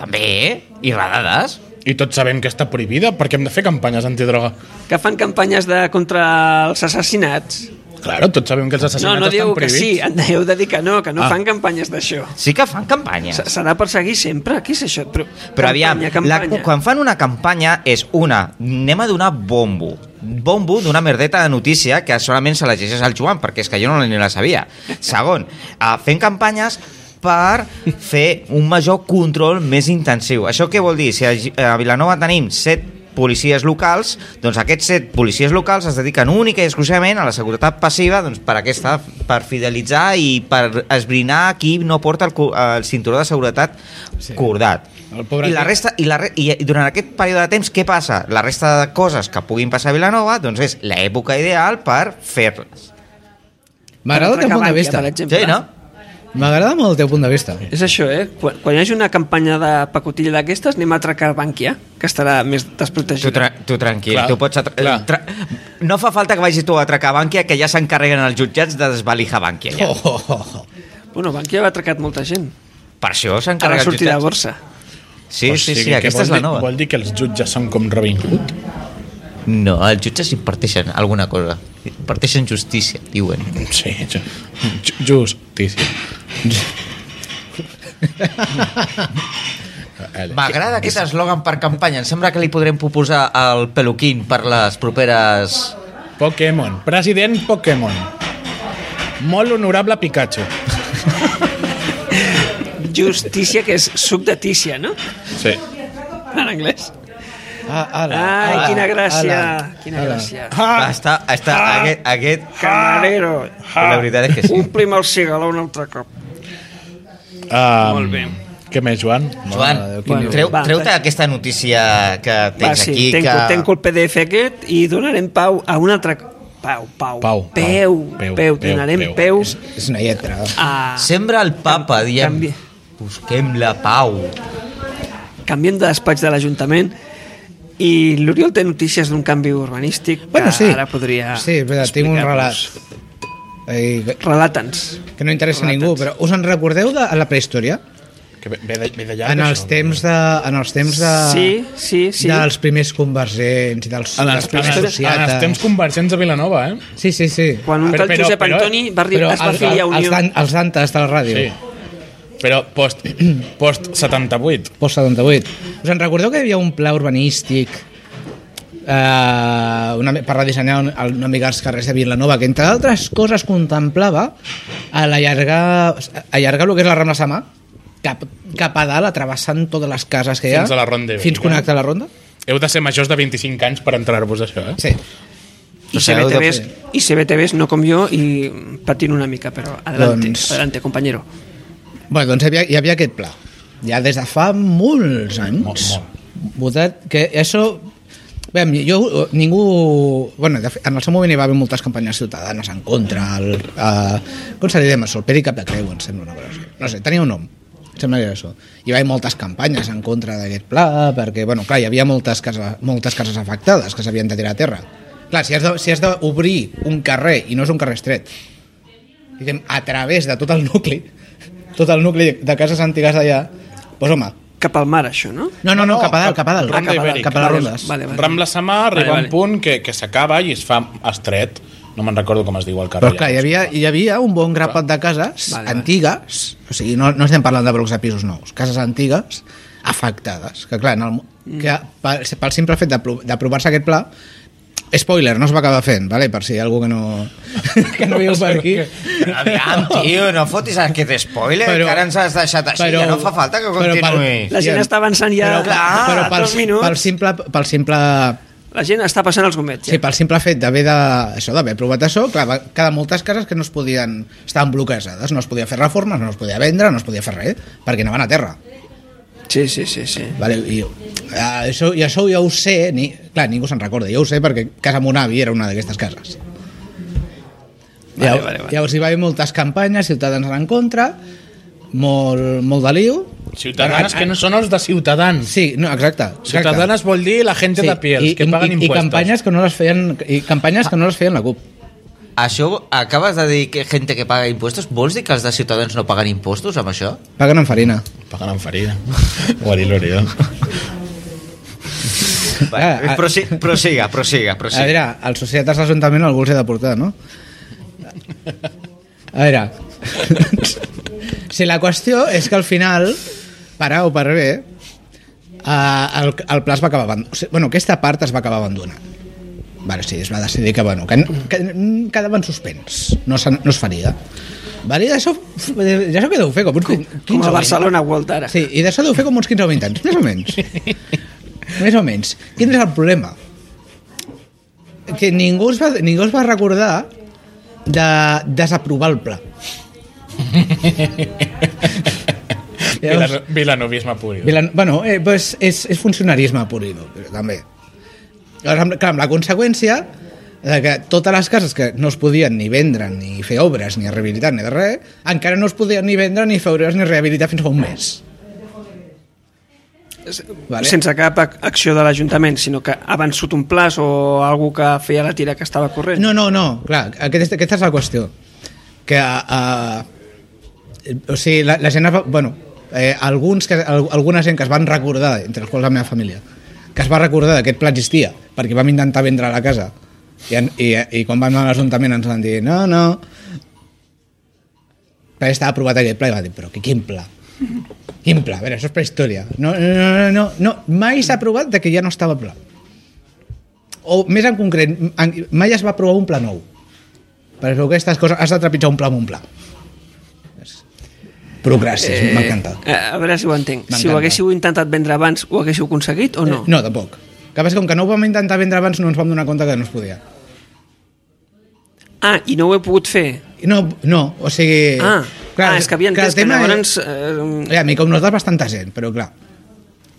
[SPEAKER 4] També, eh? I radades?
[SPEAKER 1] I tots sabem que està prohibida perquè hem de fer campanyes antidroga.
[SPEAKER 2] Que fan campanyes de, contra els assassinats.
[SPEAKER 1] Claro, tots sabem que els
[SPEAKER 2] no,
[SPEAKER 1] assassinats
[SPEAKER 2] no dieu
[SPEAKER 1] estan
[SPEAKER 2] que
[SPEAKER 1] prohibits.
[SPEAKER 2] sí, heu de dir que no, que no
[SPEAKER 1] Ah.
[SPEAKER 2] fan campanyes d'això.
[SPEAKER 4] Sí que fan campanyes.
[SPEAKER 2] S- S'ha de perseguir sempre? Què és això? Però,
[SPEAKER 4] Però aviam,
[SPEAKER 2] campanya,
[SPEAKER 4] La,
[SPEAKER 2] campanya.
[SPEAKER 4] quan fan una campanya és una, anem a donar bombo. Bombo d'una merdeta de notícia que solament se la llegeix al Joan, perquè és que jo no ni la sabia. Segon, eh, fent campanyes per fer un major control més intensiu. Això què vol dir? Si a, Gi- a Vilanova tenim set policies locals, doncs aquests set policies locals es dediquen única i exclusivament a la seguretat passiva doncs, per aquesta, per fidelitzar i per esbrinar qui no porta el, cu- el cinturó de seguretat sí. cordat.
[SPEAKER 1] El pobre
[SPEAKER 4] I la
[SPEAKER 1] tio.
[SPEAKER 4] resta, i, la, re- i, i durant aquest període de temps, què passa? La resta de coses que puguin passar a Vilanova, doncs és l'època ideal per fer-les.
[SPEAKER 3] M'agrada el teu punt de vista.
[SPEAKER 2] Per exemple.
[SPEAKER 4] Sí, no?
[SPEAKER 3] M'agrada molt el teu punt de vista.
[SPEAKER 2] És això, eh? Quan, quan hi hagi una campanya de pacotilla d'aquestes, anem a atracar Bankia, que estarà més
[SPEAKER 4] Tu,
[SPEAKER 2] desprotegida.
[SPEAKER 4] tra tu tranquil,
[SPEAKER 1] Clar,
[SPEAKER 4] tu pots... atra-
[SPEAKER 1] clar.
[SPEAKER 4] Tra no fa falta que vagis tu a atracar Bànquia, que ja s'encarreguen els jutjats de desvalijar Bànquia. Ja.
[SPEAKER 3] Oh, oh, oh.
[SPEAKER 2] Bueno, Bankia ha atracat molta gent.
[SPEAKER 4] Per això
[SPEAKER 2] Ara
[SPEAKER 4] s'encarreguen els
[SPEAKER 2] sortirà a
[SPEAKER 4] jutjats.
[SPEAKER 2] borsa.
[SPEAKER 4] Sí,
[SPEAKER 1] O
[SPEAKER 4] sí,
[SPEAKER 1] sigui
[SPEAKER 4] sí,
[SPEAKER 1] que
[SPEAKER 4] aquesta
[SPEAKER 1] vol
[SPEAKER 4] és la
[SPEAKER 1] dir-
[SPEAKER 4] nova.
[SPEAKER 1] Vol dir que els jutges són com Robin Hood?
[SPEAKER 4] No, els jutges imparteixen alguna cosa. Imparteixen justícia, diuen.
[SPEAKER 1] Sí, ju- ju- justícia.
[SPEAKER 4] M'agrada aquest eslògan per campanya. Em sembla que li podrem proposar al peluquín per les properes...
[SPEAKER 1] Pokémon. President Pokémon. Molt honorable Pikachu.
[SPEAKER 2] Justícia, que és suc de tícia, no?
[SPEAKER 1] Sí.
[SPEAKER 2] En anglès.
[SPEAKER 3] Ah, ala,
[SPEAKER 2] Ai,
[SPEAKER 3] ala,
[SPEAKER 2] quina gràcia,
[SPEAKER 3] ala.
[SPEAKER 2] quina gràcia.
[SPEAKER 4] Ah, està, està, ah, aquest, aquest
[SPEAKER 2] Camarero,
[SPEAKER 4] la veritat és que sí.
[SPEAKER 2] omplim el cigaló un altre cop.
[SPEAKER 1] Um,
[SPEAKER 2] Molt bé.
[SPEAKER 1] Què més, Joan?
[SPEAKER 4] Joan,
[SPEAKER 3] Mare de Déu,
[SPEAKER 2] quin
[SPEAKER 4] treu,
[SPEAKER 2] nivell.
[SPEAKER 4] treu-te aquesta notícia que
[SPEAKER 2] doncs. Va,
[SPEAKER 4] tens
[SPEAKER 2] sí,
[SPEAKER 4] aquí.
[SPEAKER 2] tenc,
[SPEAKER 4] que...
[SPEAKER 2] tenc el PDF aquest i donarem pau a un altre... Pau, pau,
[SPEAKER 1] Pau, pau,
[SPEAKER 2] peu, peu,
[SPEAKER 1] peu,
[SPEAKER 2] peu,
[SPEAKER 1] peu,
[SPEAKER 2] donarem
[SPEAKER 1] peu.
[SPEAKER 2] peu
[SPEAKER 3] És una lletra.
[SPEAKER 2] a...
[SPEAKER 4] Sembra el papa, diem.
[SPEAKER 2] canvi-
[SPEAKER 4] Busquem la pau.
[SPEAKER 2] canviem de despatx de l'Ajuntament i l'Oriol té notícies d'un canvi urbanístic que
[SPEAKER 3] Bueno, sí.
[SPEAKER 2] Ah, ara podria
[SPEAKER 3] Sí, espera, tinc un relat.
[SPEAKER 2] explicar-nos.
[SPEAKER 3] Ai, que-
[SPEAKER 2] Relata'ns.
[SPEAKER 3] que no interessa a ningú, però us en recordeu de la prehistòria?
[SPEAKER 1] Que ve, ve, de, ve de llarg,
[SPEAKER 3] En els
[SPEAKER 1] això?
[SPEAKER 4] eh.
[SPEAKER 3] temps de... En els temps de...
[SPEAKER 2] Sí, sí, sí.
[SPEAKER 3] Dels primers convergents i dels,
[SPEAKER 1] En els,
[SPEAKER 3] dels
[SPEAKER 1] en,
[SPEAKER 3] primers
[SPEAKER 1] els, en els temps convergents de Vilanova, eh?
[SPEAKER 3] Sí, sí, sí.
[SPEAKER 2] Quan un
[SPEAKER 1] Però-
[SPEAKER 2] tal
[SPEAKER 1] però-
[SPEAKER 2] Josep
[SPEAKER 1] però-
[SPEAKER 2] Antoni va arribar, es va
[SPEAKER 3] els,
[SPEAKER 2] afiliar a
[SPEAKER 3] els,
[SPEAKER 2] Unió.
[SPEAKER 3] dan- els dantes de la ràdio.
[SPEAKER 1] Sí. Però post, post 78.
[SPEAKER 3] Post 78. Us en recordeu que hi havia un pla urbanístic eh, una, mi- per redissenyar un- el- una mica els carrers de Vilanova, que entre altres coses contemplava el allargar, allargar el que és la Rambla Samà cap, cap a dalt, atrevessant totes les cases que hi ha.
[SPEAKER 1] Fins a la Ronda Ibèrica.
[SPEAKER 3] Fins connectar a la Ronda.
[SPEAKER 1] Heu de ser majors de 25 anys per entrar-vos a això, eh?
[SPEAKER 3] Sí.
[SPEAKER 2] I
[SPEAKER 4] O sigui, heu de
[SPEAKER 2] CBTVs, I CBTVs, no com jo, i patint una mica, però adelante,
[SPEAKER 3] Doncs-
[SPEAKER 2] adelante, compañero.
[SPEAKER 3] Bueno, doncs hi havia, hi havia aquest pla. Ja des de fa molts anys. Molt, molt. Votat que això... Bé, jo, eh, ningú... Bueno, de fet, en el seu moment hi va haver moltes campanyes ciutadanes en contra. El, eh, com se li deia això? El Peri Capdecreu, em sembla una cosa. així. No sé, tenia un nom. Em sembla que era això. Hi va haver moltes campanyes en contra d'aquest pla, perquè, bueno, clar, hi havia moltes cases, moltes cases afectades que s'havien de tirar a terra. Clar, si has de- si has d'obrir si un carrer, i no és un carrer estret, diguem, a través de tot el nucli, tot el nucli de cases antigues d'allà, doncs home,
[SPEAKER 2] Cap al mar, això, no?
[SPEAKER 3] no, no, no, cap a dalt, cap a dalt,
[SPEAKER 1] Ronda
[SPEAKER 3] cap a, dalt,
[SPEAKER 1] Ibèrica.
[SPEAKER 3] cap a les
[SPEAKER 2] Vale,
[SPEAKER 3] rondes.
[SPEAKER 2] vale, vale.
[SPEAKER 1] Rambla Samà arriba
[SPEAKER 2] Vale,
[SPEAKER 1] vale,
[SPEAKER 2] vale.
[SPEAKER 1] un punt que, que s'acaba i es fa estret. No me'n recordo com es diu el carrer.
[SPEAKER 3] Però clar, hi havia, hi havia un bon grapat de cases
[SPEAKER 2] Vale,
[SPEAKER 3] vale,
[SPEAKER 2] vale.
[SPEAKER 3] antigues, o sigui, no, no estem parlant de blocs de pisos nous, cases antigues afectades, que clar, en el, que pel, pel simple fet d'apro- d'aprovar-se aquest pla, spoiler, no es va acabar fent, vale? per si hi ha algú que no, que no viu per aquí.
[SPEAKER 4] Aviam, tio, no fotis aquest spoiler, però,
[SPEAKER 3] Però-
[SPEAKER 4] que ara ens has deixat així,
[SPEAKER 3] però-
[SPEAKER 4] ja no fa falta que
[SPEAKER 3] però per-
[SPEAKER 4] continuïs.
[SPEAKER 2] La gent
[SPEAKER 3] Ja.
[SPEAKER 2] està avançant ja
[SPEAKER 4] Però clar,
[SPEAKER 2] a
[SPEAKER 3] però pel,
[SPEAKER 2] dos minuts.
[SPEAKER 3] pel simple, pel simple
[SPEAKER 2] La gent està passant els gomets.
[SPEAKER 3] Sí, pel simple fet d'haver de, això d'haver provat això, clar, va quedar moltes cases que no es podien... Estaven bloquejades, no es podia fer reformes, no es podia vendre, no es podia fer res, perquè anaven a terra.
[SPEAKER 2] Sí, sí, sí, sí.
[SPEAKER 3] Vale, i, ah, això, I això ja ho sé, ni, clar, ningú se'n recorda, jo ho sé perquè casa mon avi era una d'aquestes cases.
[SPEAKER 2] Vale, vale, vale.
[SPEAKER 3] Llavors hi va haver moltes campanyes, ciutadans en contra, molt, molt de liu.
[SPEAKER 1] Ciutadanes que no són els de Ciutadans.
[SPEAKER 3] Ah, Sí, no, exacte. exacte.
[SPEAKER 1] Ciutadanes vol dir la gent de piel,
[SPEAKER 3] i,
[SPEAKER 1] que
[SPEAKER 3] i,
[SPEAKER 1] paguen
[SPEAKER 3] i, i
[SPEAKER 1] impuestos.
[SPEAKER 3] campanyes que no les feien i campanyes que no les feien la CUP.
[SPEAKER 4] Això acabes de dir que gente que paga impostos? Vols dir que els de Ciutadans no paguen impostos amb això?
[SPEAKER 3] Paguen amb farina.
[SPEAKER 1] Paguen amb farina. Guarir l'Oriol.
[SPEAKER 3] Ah, ah.
[SPEAKER 4] Va, prosi, prosiga, prosiga,
[SPEAKER 3] A
[SPEAKER 4] prosiga.
[SPEAKER 3] veure, el societat de l'Ajuntament algú els he de portar, no? A veure... si la qüestió és que al final, per A o per B, eh, el, el pla es va acabar abandonant. O sigui, bueno, aquesta part es va acabar abandonant. Vale, sí, es va decidir que, bueno, que, que mm, quedaven suspens, no, se, no es faria. Vale, i això, i això que deu fer? Com, uns quin-
[SPEAKER 2] Com
[SPEAKER 3] 15
[SPEAKER 2] a
[SPEAKER 3] o
[SPEAKER 2] Barcelona World ara.
[SPEAKER 3] Sí, i d'això deu fer com uns 15 o 20 anys, més o menys. més o menys. Quin és el problema? Que ningú es va, ningú es va recordar de desaprovar el pla.
[SPEAKER 1] Vilano- Vilanovisme puri.
[SPEAKER 3] Vilan... Bueno, eh, pues és, és funcionarisme pur i dur, també. Llavors, amb, clar, amb la conseqüència de que totes les cases que no es podien ni vendre, ni fer obres, ni rehabilitar, ni de res, encara no es podien ni vendre, ni fer obres, ni rehabilitar fins fa un mes.
[SPEAKER 2] Vale. Sense cap ac- acció de l'Ajuntament, sinó que ha vençut un plaç o algú que feia la tira que estava corrent.
[SPEAKER 3] No, no, no, clar, aquesta, aquesta és la qüestió. Que, uh, o sigui, la, la gent... es Va, bueno, eh, alguns que, al, alguna gent que es van recordar, entre els quals la meva família, que es va recordar que aquest pla existia, perquè vam intentar vendre la casa. I, en- i, i quan vam anar a l'Ajuntament ens van dir, no, no... Perquè estava aprovat aquest pla i va dir, però que quin pla? Quin pla? A veure, això és prehistòria. No, no, no, no, no, mai s'ha aprovat de que ja no estava pla o més en concret, en, mai es va provar un pla nou. Per això aquestes coses has de trepitjar un pla amb un pla. Burocràcies, eh, m'encanta.
[SPEAKER 2] Eh, a veure si ho entenc. Si ho
[SPEAKER 3] M'encanta.
[SPEAKER 2] haguéssiu intentat vendre abans, ho haguéssiu aconseguit o no?
[SPEAKER 3] No, tampoc. Que passa que com que no ho vam intentar vendre abans no ens vam donar compte que no es podia.
[SPEAKER 2] Ah, i no ho he pogut fer.
[SPEAKER 3] I No, no, o sigui...
[SPEAKER 2] Ah, clar, ah és que havia
[SPEAKER 3] Eh, clar,
[SPEAKER 2] entès
[SPEAKER 3] el
[SPEAKER 2] que
[SPEAKER 3] tema és-
[SPEAKER 2] llavors... Eh,
[SPEAKER 3] Eh, a mi com nosaltres bastanta gent, però clar.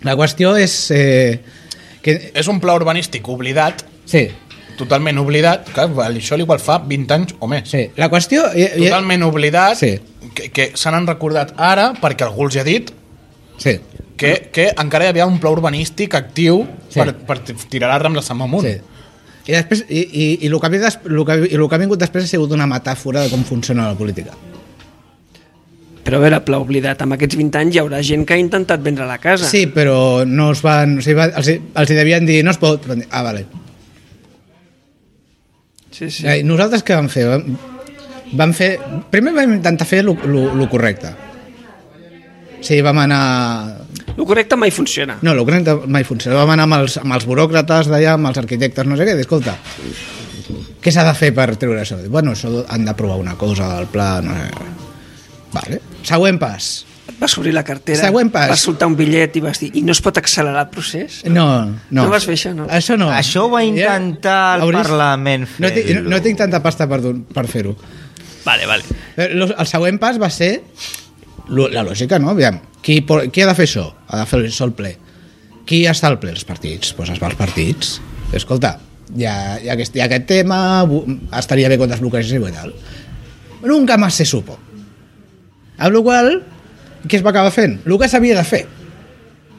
[SPEAKER 3] La qüestió és... Eh, que,
[SPEAKER 1] És un pla urbanístic oblidat,
[SPEAKER 3] sí,
[SPEAKER 1] totalment oblidat, que això igual fa 20 anys o més.
[SPEAKER 3] sí. La qüestió... eh, eh,
[SPEAKER 1] Totalment oblidat,
[SPEAKER 3] Sí.
[SPEAKER 1] que, que se n'han recordat ara perquè algú els ha dit
[SPEAKER 3] Sí,
[SPEAKER 1] que, que encara hi havia un pla urbanístic actiu
[SPEAKER 3] Sí.
[SPEAKER 1] per, per ti- tirar la Rambla Sant Mamunt.
[SPEAKER 3] sí. I, després, i, i, i, el que ve des, el que, i el que ha vingut després ha sigut una metàfora de com funciona la política.
[SPEAKER 2] però a veure, pla oblidat, amb aquests 20 anys hi haurà gent que ha intentat vendre la casa.
[SPEAKER 3] Sí, però no es van... O sigui, va, els, els hi devien dir, no es pot... Van dir, ah, vale.
[SPEAKER 2] sí, sí.
[SPEAKER 3] Sí. Nosaltres què vam fer? Vam, vam fer... Primer vam intentar fer el correcte. O sigui, vam anar...
[SPEAKER 2] El correcte mai funciona.
[SPEAKER 3] No, el correcte mai funciona. Vam anar amb els, amb els buròcrates d'allà, amb els arquitectes, no sé què, i dir, escolta, què s'ha de fer per treure això? Diu, Bueno, això han d'aprovar una cosa del pla... No sé. què". Vale. Següent pas.
[SPEAKER 2] Et vas obrir la cartera,
[SPEAKER 3] Següent pas. Eh,
[SPEAKER 2] vas soltar un bitllet i vas dir i no es pot accelerar el procés?
[SPEAKER 3] No, no.
[SPEAKER 2] No vas fer això, no?
[SPEAKER 3] Això no.
[SPEAKER 4] Això ho va intentar el Parlament
[SPEAKER 3] No tinc,
[SPEAKER 4] fer-lo.
[SPEAKER 3] no tinc tanta pasta per, don- per fer-ho.
[SPEAKER 2] Vale, vale.
[SPEAKER 3] Però lo- El següent pas va ser lo- la lògica, no? Aviam, qui, po- qui ha de fer això? Ha de fer això el ple. Qui està al ple? Els partits. Doncs pues es va als partits. Escolta, hi ha, hi ha, aquest, hi ha aquest tema, bu- estaria bé quan desbloqueixéssim i tal. Nunca más se supo. Amb la qual cosa, què es va acabar fent? El que s'havia de fer.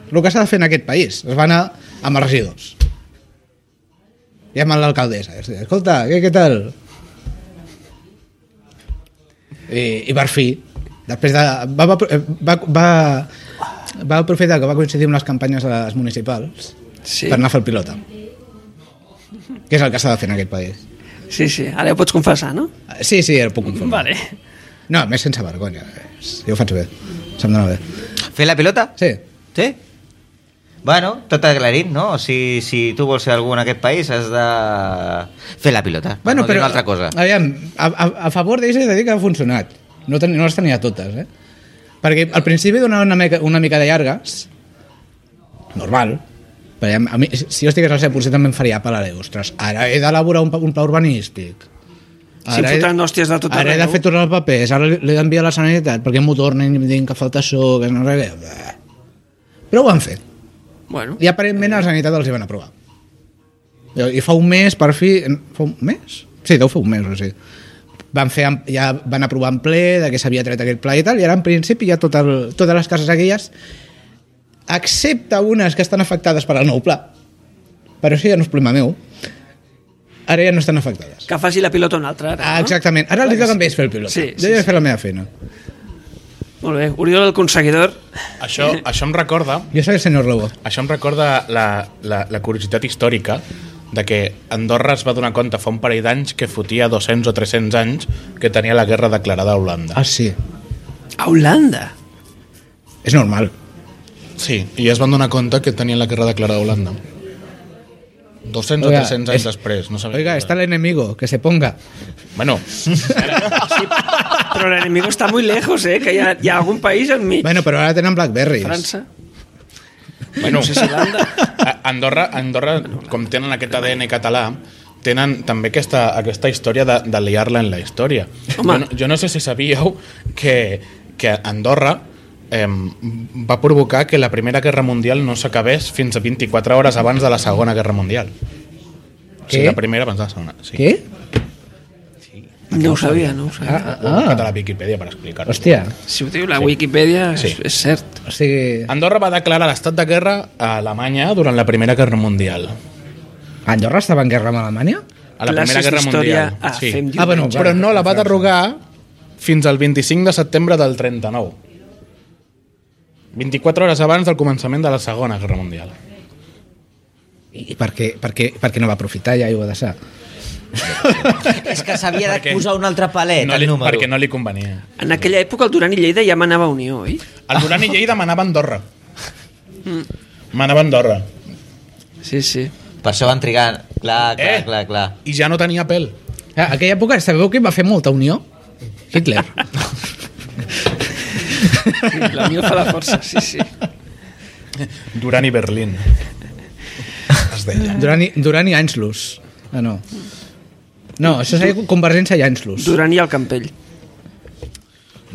[SPEAKER 3] El que s'ha de fer en aquest país. Es va anar amb els regidors. I amb l'alcaldessa. És a dir, Escolta, què, què tal? I, i per fi, després de... Va, va, va, va, va aprofitar que va coincidir amb les campanyes de les municipals
[SPEAKER 2] Sí.
[SPEAKER 3] per anar a fer el pilota. Que és el que s'ha de fer en aquest país.
[SPEAKER 2] Sí, sí, ara ja ho pots confessar, no?
[SPEAKER 3] Sí, sí, el puc confirmar.
[SPEAKER 2] Vale.
[SPEAKER 3] No, a més sense vergonya. És- Jo ho faig bé. Se'm dona bé.
[SPEAKER 4] Fer la pilota?
[SPEAKER 3] Sí.
[SPEAKER 4] Sí? Bueno, tot aclarit, no? O sigui, si tu vols ser algú en aquest país has de fer la pilota. per
[SPEAKER 3] Bueno,
[SPEAKER 4] no
[SPEAKER 3] Ah,
[SPEAKER 4] dir
[SPEAKER 3] però,
[SPEAKER 4] Una altra cosa.
[SPEAKER 3] Aviam, a, a, a favor d'ells he de dir que ha funcionat. No, ten, no les tenia totes, eh? Perquè al principi donava una mica, una mica de llargues, normal, Perquè a mi, si jo estigués al CEP, potser també em faria pel a dir, ostres, ara he d'elaborar un, pla- un pla urbanístic.
[SPEAKER 2] Si em fotran hòsties de tot
[SPEAKER 3] ara he de
[SPEAKER 2] arreu.
[SPEAKER 3] fer tots els papers, ara l'he d'enviar a la Sanitat perquè m'ho tornin i em diguin que falta això, que no sé què. Però ho han fet.
[SPEAKER 2] Bueno,
[SPEAKER 3] I aparentment a la Sanitat els hi van aprovar. I fa un mes, per fi... Fa un mes? Sí, deu fer un mes, o sigui. Van fer, am- ja van aprovar en ple de que s'havia tret aquest pla i tal, i ara en principi ja tot el, totes les cases aquelles, excepte unes que estan afectades per al nou pla, però això ja no és problema meu, ara ja no estan afectades.
[SPEAKER 2] que faci la pilota un altre. Ara,
[SPEAKER 3] Ah,
[SPEAKER 2] no?
[SPEAKER 3] exactament. Ara li toca a ells fer el pilot.
[SPEAKER 2] Sí, sí,
[SPEAKER 3] jo ja he
[SPEAKER 2] sí.
[SPEAKER 3] fet la meva feina.
[SPEAKER 2] Molt bé. Oriol, el conseguidor.
[SPEAKER 1] Això, això em recorda
[SPEAKER 3] Jo seré el senyor Lobo.
[SPEAKER 1] Això em recorda la, la, la curiositat històrica de que Andorra es va donar compte fa un parell d'anys que fotia 200 o 300 anys que tenia la guerra declarada a Holanda.
[SPEAKER 3] Ah, sí.
[SPEAKER 2] A Holanda.
[SPEAKER 3] És normal.
[SPEAKER 1] Sí, i es van donar compte que tenien la guerra declarada a Holanda. 200
[SPEAKER 3] Oiga,
[SPEAKER 1] o 300 anys
[SPEAKER 3] es-
[SPEAKER 1] després, no sabem.
[SPEAKER 3] Oiga, está el enemigo, que se ponga.
[SPEAKER 1] Bueno,
[SPEAKER 2] Però l'enemigo està molt lejos, eh? Que hi ha, hi ha algun país enmig.
[SPEAKER 3] Bueno, però ara tenen Blackberries.
[SPEAKER 2] França.
[SPEAKER 1] bueno no sé si Andorra, Andorra, com tenen aquest ADN català, tenen també aquesta, aquesta història de, de liar-la en la història.
[SPEAKER 2] Home.
[SPEAKER 1] Jo no, jo no sé si sabíeu que, que Andorra eh, va provocar que la Primera Guerra Mundial no s'acabés fins a 24 hores abans de la Segona Guerra Mundial. O sigui,
[SPEAKER 3] Què?
[SPEAKER 1] la primera abans de la segona. Sí.
[SPEAKER 3] Què?
[SPEAKER 2] No ho sabia, no ho sabia.
[SPEAKER 3] Ah,
[SPEAKER 1] Ho he buscat a la Viquipèdia per explicar-ho.
[SPEAKER 3] Hòstia,
[SPEAKER 2] Si ho diu la Wikipedia,
[SPEAKER 1] Sí.
[SPEAKER 2] és, és cert.
[SPEAKER 3] o sigui...
[SPEAKER 1] Andorra va declarar l'estat de guerra a Alemanya durant la Primera Guerra Mundial.
[SPEAKER 3] Andorra estava en guerra amb Alemanya?
[SPEAKER 1] A la
[SPEAKER 2] Classes
[SPEAKER 1] Primera Guerra
[SPEAKER 2] d'història
[SPEAKER 1] Mundial.
[SPEAKER 2] Ah, fem
[SPEAKER 3] Ah, bueno,
[SPEAKER 2] diumenge.
[SPEAKER 1] Però no la va derrogar fins al 25 de setembre del 39. 24 hores abans del començament de la Segona Guerra Mundial.
[SPEAKER 3] I per què, per què, per què no va aprofitar ja i ho va deixar?
[SPEAKER 4] És que s'havia de
[SPEAKER 1] Perquè-
[SPEAKER 4] posar un altre palet,
[SPEAKER 1] No
[SPEAKER 4] el
[SPEAKER 1] li,
[SPEAKER 4] Eh, número.
[SPEAKER 1] perquè no li convenia.
[SPEAKER 2] En aquella època el Duran i Lleida ja manava Unió, oi?
[SPEAKER 1] El Duran i Lleida manava Andorra.
[SPEAKER 2] Mm.
[SPEAKER 1] Manava Andorra.
[SPEAKER 2] Sí, sí.
[SPEAKER 4] Per això van trigar... Clar, clar,
[SPEAKER 1] Eh?
[SPEAKER 4] clar, clar.
[SPEAKER 1] I ja no tenia pèl.
[SPEAKER 3] A Ah, aquella època, sabeu qui va fer molta unió? Hitler.
[SPEAKER 2] La Unió fa la força, sí, sí.
[SPEAKER 1] Duran i Berlín. Es deia.
[SPEAKER 3] Durant i, Durant i Anschluss. Ah, no. No, això seria Convergència i Anschluss.
[SPEAKER 2] Duran i el Campell.